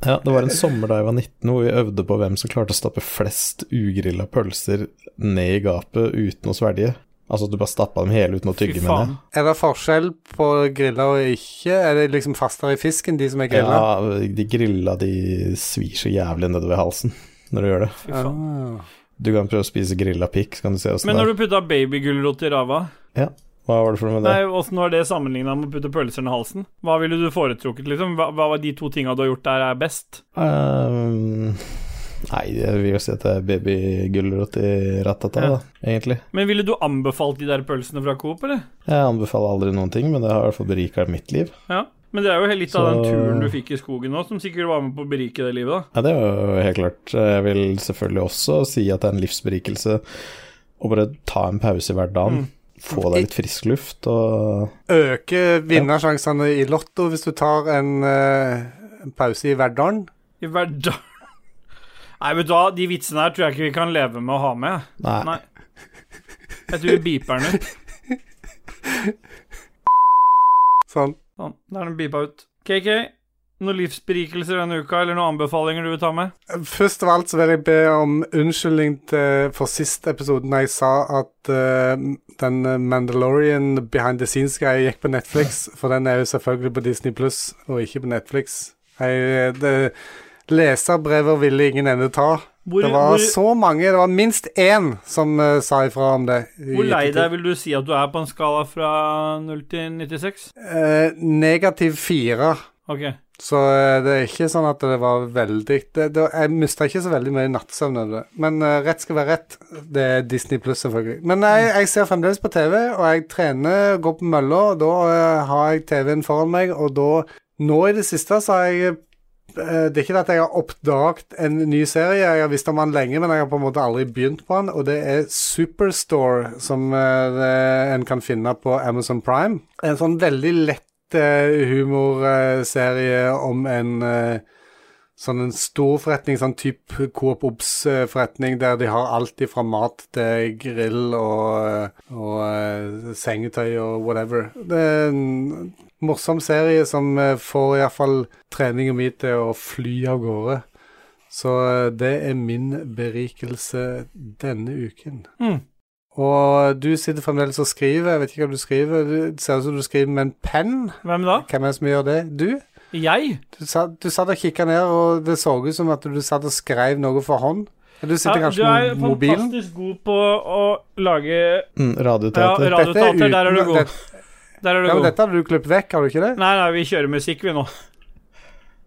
Ja, det var en sommer da jeg var 19 hvor vi øvde på hvem som klarte å stappe flest ugrilla pølser ned i gapet uten å svelge. Altså at du bare stappa dem hele uten å
Fy
tygge,
faen.
mener jeg.
Er det forskjell på grilla og ikke? Er det liksom fastere i fisken, de som er grilla?
Ja, de grilla de svir så jævlig nedover halsen når du gjør det.
Fy faen.
Ah.
Du kan prøve å spise grilla pikk, så kan du se åssen
Men
det
når
er.
du putta babygulrot i rava,
Hva var det for noe med det?
Nei, åssen var det sammenligna med å putte pølser i halsen? Hva ville du foretrukket, liksom? Hva, hva var de to tinga du har gjort der, er best?
Ehm, nei, jeg vil jo si at det er babygulrot i ratata,
Ja.
da, egentlig.
Men ville du anbefalt de der pølsene fra Coop, eller?
Jeg anbefaler aldri noen ting, men det har i hvert fall berika mitt liv.
Ja. Men det er jo litt av
Så-
den turen du fikk i skogen nå, som sikkert var med på å berike det livet, da.
Ja, det er jo helt klart. Jeg vil selvfølgelig også si at det er en livsberikelse å bare ta en pause hver dag,
Mm.
få deg litt frisk luft og
Øke vinnersjansene i lotto hvis du tar en eh, en pause i hverdagen?
I hverdagen Nei, vet du hva, de vitsene her tror jeg ikke vi kan leve med å ha med.
Nei.
Nei. Jeg tror vi beeper den ut.
Sånn.
Sånn, da er den beepa ut. KK, noen livsberikelser denne uka, eller noen anbefalinger du vil ta med?
Først av alt så vil jeg be om unnskyldning til, for sist episoden da jeg sa at eh, den Mandalorian behind the scenes-greia gikk på Netflix, for den er jo selvfølgelig på Disney Pluss og ikke på Netflix. Jeg, det, leserbrevet ville ingen ende ta.
Hvor,
det var
hvor,
så mange, det var minst én som eh, sa ifra om det. i
hvor lei
ettertid.
deg vil du si at du er på en skala fra 0 til 96?
Eh, negativ fire.
Ok.
Så eh, det er ikke sånn at det var veldig det, det, Jeg mista ikke så veldig mye nattsøvn over det. Men eh, rett skal være rett. Det er Disney pluss, selvfølgelig. Men jeg, jeg ser fremdeles på TV, og jeg trener, går på mølla, og da eh, har jeg TV-en foran meg, og da Nå i det siste så har jeg eh, det er ikke det at jeg har oppdaget en ny serie, jeg har visst om den lenge, men jeg har på en måte aldri begynt på den, og det er Superstore, som eh, det- en kan finne på Amazon Prime. En sånn veldig lett eh, humorserie om en eh, sånn en stor forretning, sånn type Coop Obs-forretning, der de har alt fra mat til grill og, og eh, sengetøy og whatever. Det er en morsom serie som eh, får iallfall treninga mi til å fly av gårde. Så eh, det er min berikelse denne uken.
Mm.
Og du sitter fremdeles og skriver. Jeg vet ikke hva du skriver. Det ser ut som du skriver med en penn.
Hvem da?
Hvem er det som gjør det? Du?
Jeg?
Du satt, du satt og kikka ned, og det så ut som at du satt og skrev noe for hånd. Du
Ja,
sitter
du
kanskje
er
med mobilen?
fantastisk god på å lage
Mm,
ja,
radioteater.
radioteater. Der er du
uten-
god.
det-
Der er du
ja, men
god.
dette hadde du klippet vekk, har du ikke det?
Nei, nei, vi kjører musikk, vi nå.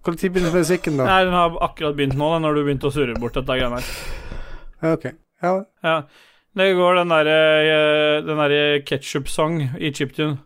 Når begynte musikken, da?
Nei, Den har akkurat begynt nå, da, når du begynte å surre bort dette greiene her.
Ja, ok. Ja,
Ja. Det går den derre Den derre ketsjup-sang i chiptune.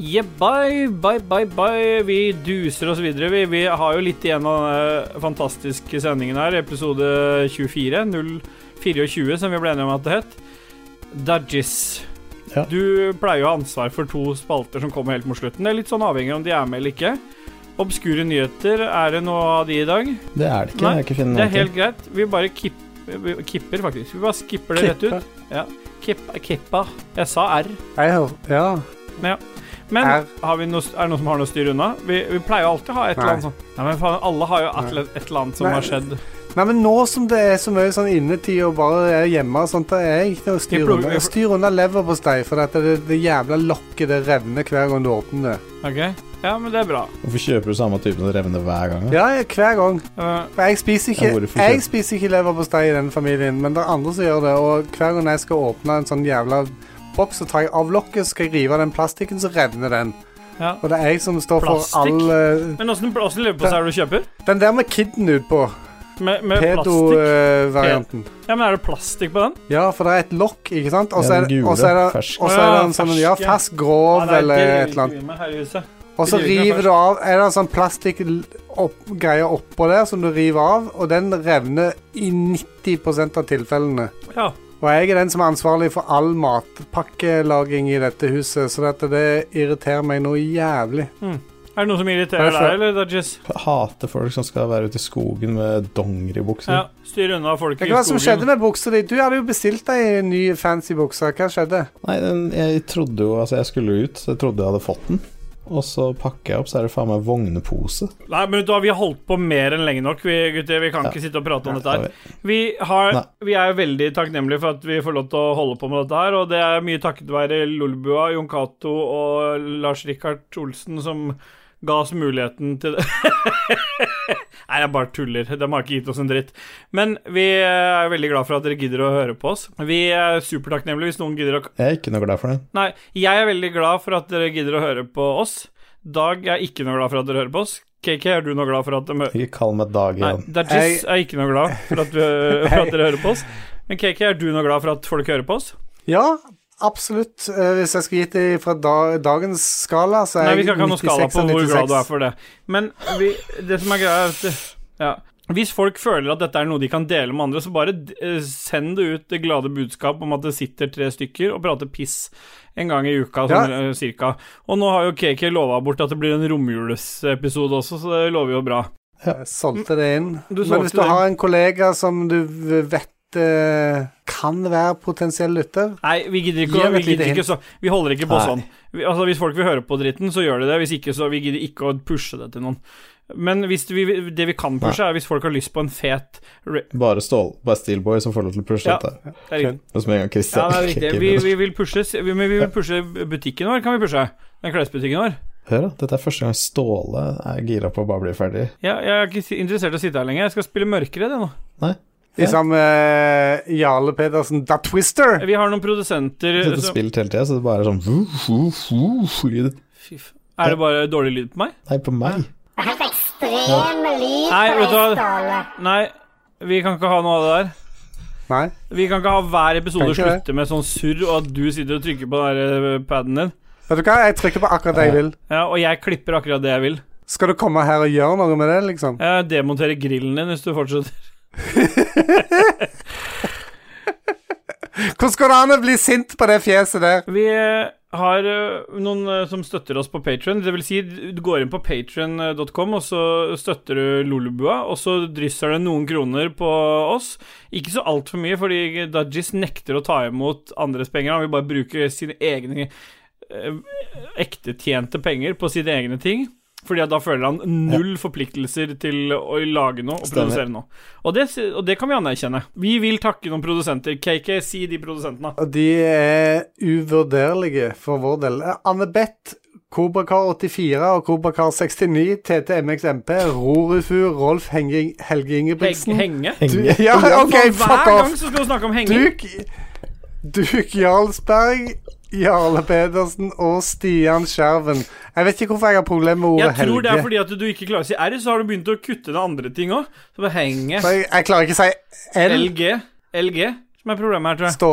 Yeah, bye, bye, bye, bye. Vi duser oss videre. Vi, vi har jo litt igjen av den fantastiske sendingen her. Episode 24, 024, som vi ble enige om at det het. Dudgies.
Ja.
Du pleier jo å ha ansvar for to spalter som kommer helt mot slutten. Det er litt sånn avhengig av om de er med eller ikke. Obskure nyheter, er det noe av de i dag?
Det er det ikke.
Nei,
jeg har ikke funnet
Det
noen
er helt greit. Vi bare kipp, vi kipper, faktisk. Vi bare skipper det rett
Kipper.
ut. Ja. Kipp, kippa. Jeg sa R.
jeg hører Ja.
Men
Er-
har vi noe, er det noen som har noe styr unna? Vi, vi pleier jo alltid å ha et eller
Nei.
annet sånt. Nei, men faen, alle har jo et, eller- et eller annet som
Nei.
har skjedd.
Nei, men nå som det er så mye sånn innetid og bare er hjemme og sånt, det er ikke noe
Jeg
styr
plugger-
unna. Styr unna leverpostei, for at det, det jævla lokket det revner hver gang du åpner det.
Ok, ja, men det er bra.
Hvorfor kjøper du samme typen revne hver gang? da?
Ja, ja, hver gang.
Eh,
For jeg spiser
Ja,
ikke,
hvorfor
jeg
ikke?
spiser ikke leverpostei i den familien, men det er andre som gjør det, og hver gang jeg skal åpne en sånn jævla boks, så tar jeg av lokket, skal jeg rive av den plastikken, så revner den.
Ja.
Og det er jeg som står for
Plastikk?
all eh,
men åssen åssen leverpostei er det du kjøper?
Den der med kidden ut på.
Med, med
eh,
plastikk?
Pedo-varianten.
Ja, men er det plastikk på den?
Ja, for det er et lokk, ikke sant? Og så
Ja,
er,
den
det-
gule,
og så er det,
fersk.
og så er det
Å
en
ja,
sånn ja,
fersk, ja.
fersk grov
Ja,
eller
det er
et eller annet.
driver vi med her i huset.
Og så
Det driver vi
river
med
du av Er det en sånn plastikkgreie oppå der som du river av, og den revner i 90 av tilfellene.
Ja.
Og jeg er den som er ansvarlig for all matpakkelaging i dette huset, så dette det irriterer meg noe jævlig.
Er det noe som irriterer
Hvorfor?
deg, eller, Dodges?
Jeg hater folk som skal være ute i skogen med dongeribukser.
Ja, styr unna folk i
Hva var det som skjedde
skogen.
med buksa di? Du hadde jo bestilt deg en ny fancy bukse. Hva skjedde?
Nei, den, jeg trodde jo Altså, jeg skulle ut, så jeg trodde jeg hadde fått den. Og så pakker jeg opp, så er det faen meg vognepose.
Nei, men da, Vi har holdt på mer enn lenge nok, vi gutter. Vi kan
Ja.
ikke sitte og prate om dette
Ja,
her. Vi, har,
Nei.
vi er veldig takknemlige for at vi får lov til å holde på med dette her, og det er mye takket være Lolbua, Jon Cato og Lars Rikard Olsen som ga oss muligheten til det. Nei, jeg bare tuller. De har ikke gitt oss en dritt. Men vi er veldig glad for at dere gidder å høre på oss. Vi er supertakknemlige hvis noen gidder å
Jeg er ikke noe glad for det.
Nei, jeg er veldig glad for at dere gidder å høre på oss. Dag er ikke noe glad for at dere hører på oss. KK, er du noe glad for at de hører
Ikke kall meg Dag
Nei,
igjen.
Dajis er ikke noe glad for at, vi, for at dere hører på oss. Men KK, er du noe glad for at folk hører på oss?
Ja, absolutt. Eh, hvis jeg skulle gitt det fra da, dagens skala, så
Nei,
er
vi
jeg
skal ikke ha noen
96 av
skala
96.
på hvor glad du er for det. Men vi, det som er greia, er at ja. Hvis folk føler at dette er noe de kan dele med andre, så bare eh, send det ut det glade budskap om at det sitter tre stykker og prater piss en gang i uka, sånn eh, cirka. Og nå har jo KK lova bort at det blir en romjulesepisode også, så det lover jo bra.
Jeg solgte det inn.
Du solgte
Men hvis du
det inn.
har en kollega som du v- vet eh, kan være potensiell lytter
Nei, vi gidder
Gi
ikke, å-
ham
vi
et lite
gidder ikke
hint.
så Vi holder ikke på
Nei.
sånn. Vi, altså, hvis folk vil høre på dritten, så gjør de det. Hvis ikke, så vi gidder ikke å pushe det til noen. Men hvis vi, det vi kan pushe, er hvis folk har lyst på en fet re
Bare Stål, bare Steelboy som får lov til å pushe
Ja.
dette.
Det er riktig.
Og så med en gang
Ja,
Christian
det er riktig.
kicker
Vi,
inn.
vi vil pushe s- vi, Men vi vil pushe butikken vår, kan vi pushe? Den klesbutikken vår.
Hør, da. Dette er første gang Ståle er gira på å bare bli ferdig.
Ja, jeg er ikke si- interessert i å sitte her lenger. Jeg skal spille mørkere, det nå.
Nei.
i sammen med Jarle Pedersen, Da Twister
Vi har noen produsenter
Jeg sitter og
som
spiller hele tida, så det bare er sånn vuh, vuh, vuh, lyd.
Fy f- Er det bare dårlig lyd på meg?
Nei, på meg.
Nei, vet du hva. Nei, vi kan ikke ha noe av det der.
Nei.
Vi kan ikke ha hver episode
Kan ikke det.
slutte med sånn surr, og at du sitter og trykker på den der eh, paden din.
Vet du hva, jeg trykker på akkurat det jeg vil.
Ja, og jeg klipper akkurat det jeg vil.
Skal du komme her og gjøre noe med det, liksom?
Jeg demonterer grillen din hvis du fortsetter.
Hvordan går det an å bli sint på det fjeset der?
Vi eh, har eh, noen eh, som støtter oss på Patron. Det vil si, du går inn på patron.com, og så støtter du Lolebua, og så drysser det noen kroner på oss. Ikke så altfor mye, fordi Dudgies nekter å ta imot andres penger. Han vil bare bruke sine egne eh, ektetjente penger på sine egne ting. Fordi at da føler han null forpliktelser til å lage noe og
Stemmer.
produsere noe. Og det, og det kan vi anerkjenne. Vi vil takke noen produsenter. KK, si de produsentene.
Og de er uvurderlige for vår del. Eh, Anne Beth, Kobrakar 84 og Kobrakar 69, TTMXMP, Rorufu, Rolf Henging, Helge Ingebrigtsen
Heng, henge?
Du,
Henge.
ja, OK,
Faen,
fuck
Hver
off!
gang så skal du snakke om henging.
Duk, Duk Jarlsberg, Jarle Pedersen og Stian Skjerven. Jeg vet ikke hvorfor jeg har problemer med ordet
jeg tror det er
helge.
fordi at du ikke klarer å si R, så har du begynt å kutte ned andre ting òg. Så det er henge,
For jeg, jeg klarer ikke å si L.
LG, LG som er problemet her, tror jeg.
Stå...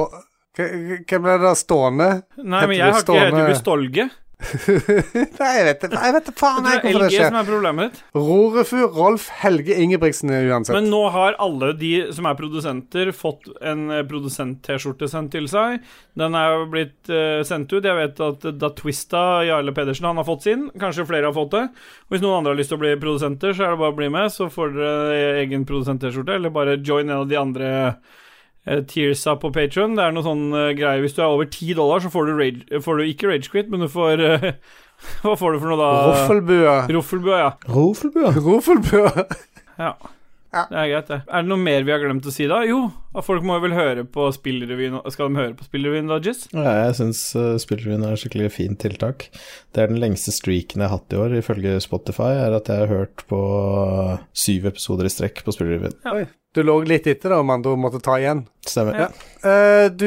Hva- Hva ble det da? Stående?
Nei,
Heter
men jeg
du
har ikke heter
stående-
du ikke Stolge.
Nei, jeg vet det. Nei, Jeg vet det. Faen,
Det
jeg,
er
hvorfor det
LG som
skjer.
er problemet ditt.
Rorefu, Rolf Helge Ingebrigtsen er uansett.
Men nå har alle de som er produsenter, fått en eh, produsent-T-skjorte sendt til seg. Den er jo blitt eh, sendt ut. Jeg vet at eh, Da Twista, Jarle Pedersen, han har fått sin. Kanskje flere har fått det. Og hvis noen andre har lyst til å bli produsenter, så er det bare å bli med. Så får dere e-, egen produsent-T-skjorte, eller bare join en av de andre eh, Tearsa på Patron. Det er noe sånn eh, greie Hvis du er over 10 dollar, så får du, rage, får du ikke Ragequit, men du får eh, Hva får du for noe da?
Roffelbua.
Roffelbua, ja.
Rofelbua.
Roffelbua.
ja. Det er greit, det. Er det noe mer vi har glemt å si da? Jo, at folk må vel høre på spillrevyen Skal de høre på spillrevyen da, Jizz?
Ja, jeg syns eh, spillrevyen er et skikkelig fint tiltak. Det er den lengste streaken jeg har hatt i år, ifølge Spotify, er at jeg har hørt på eh, syv episoder i strekk på spillrevyen.
Oi. Du lå litt etter, da, om andre måtte ta igjen.
Stemmer.
Ja.
Eh, du,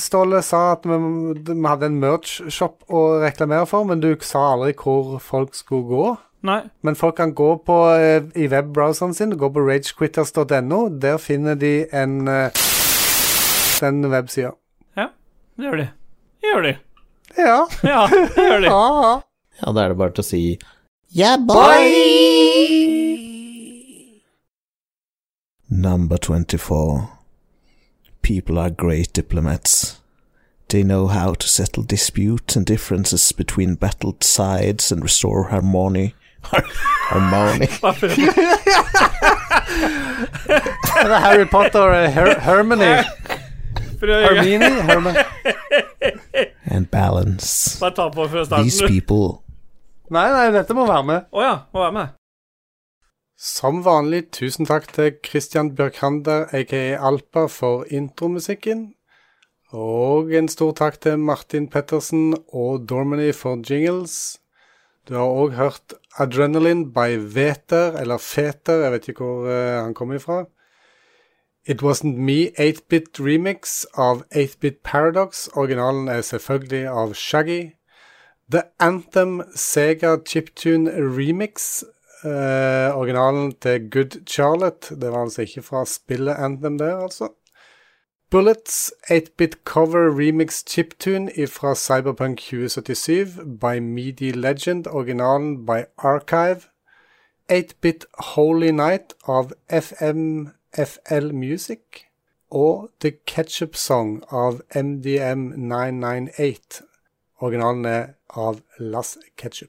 Ståle, sa at vi, vi hadde en merch-shop å reklamere for, men du sa aldri hvor folk skulle gå.
Nei.
Men folk kan gå på, eh, i webbrowseren sin, gå på ragequitters.no. Der finner de en eh, den websida.
Ja, det gjør de. Det gjør de.
Ja.
Ja, det gjør de.
ja, ja.
Ja, da er det bare til å si
Yeah, boy! Number 24. People are great diplomats. They know how to settle disputes and differences between battled sides and restore harmony.
Harmony.
Hva for en-
Er det Harry Potter og Her Hermony?
for å gjøre-
Hermini? Herman.
and balance.
Bare ta på fra
These
starten, du.
people.
Nei, nei, dette må være med.
Å ja, må være med.
Som vanlig, tusen takk til Christian Bjørkander, aka Alpa, for intromusikken. Og en stor takk til Martin Pettersen og Dormany for jingles. Du har òg hørt Adrenaline by Veter, eller Feter, jeg vet ikke hvor eh, han kommer ifra. It Wasn't Me 8-bit remix av 8-bit Paradox. Originalen er selvfølgelig av Shaggy. The Anthem Sega Chiptune Remix. eh, originalen til Good Charlotte. Det var altså ikke fra spillet Anthem der, altså. Bullets 8-bit cover remix chiptune fra Cyberpunk 2077 by Meaty Legend. Originalen by Archive. 8-bit Holy Night av FMFL Music. Og The Ketchup Song av MDM998. Originalen er av Lass Ketchup.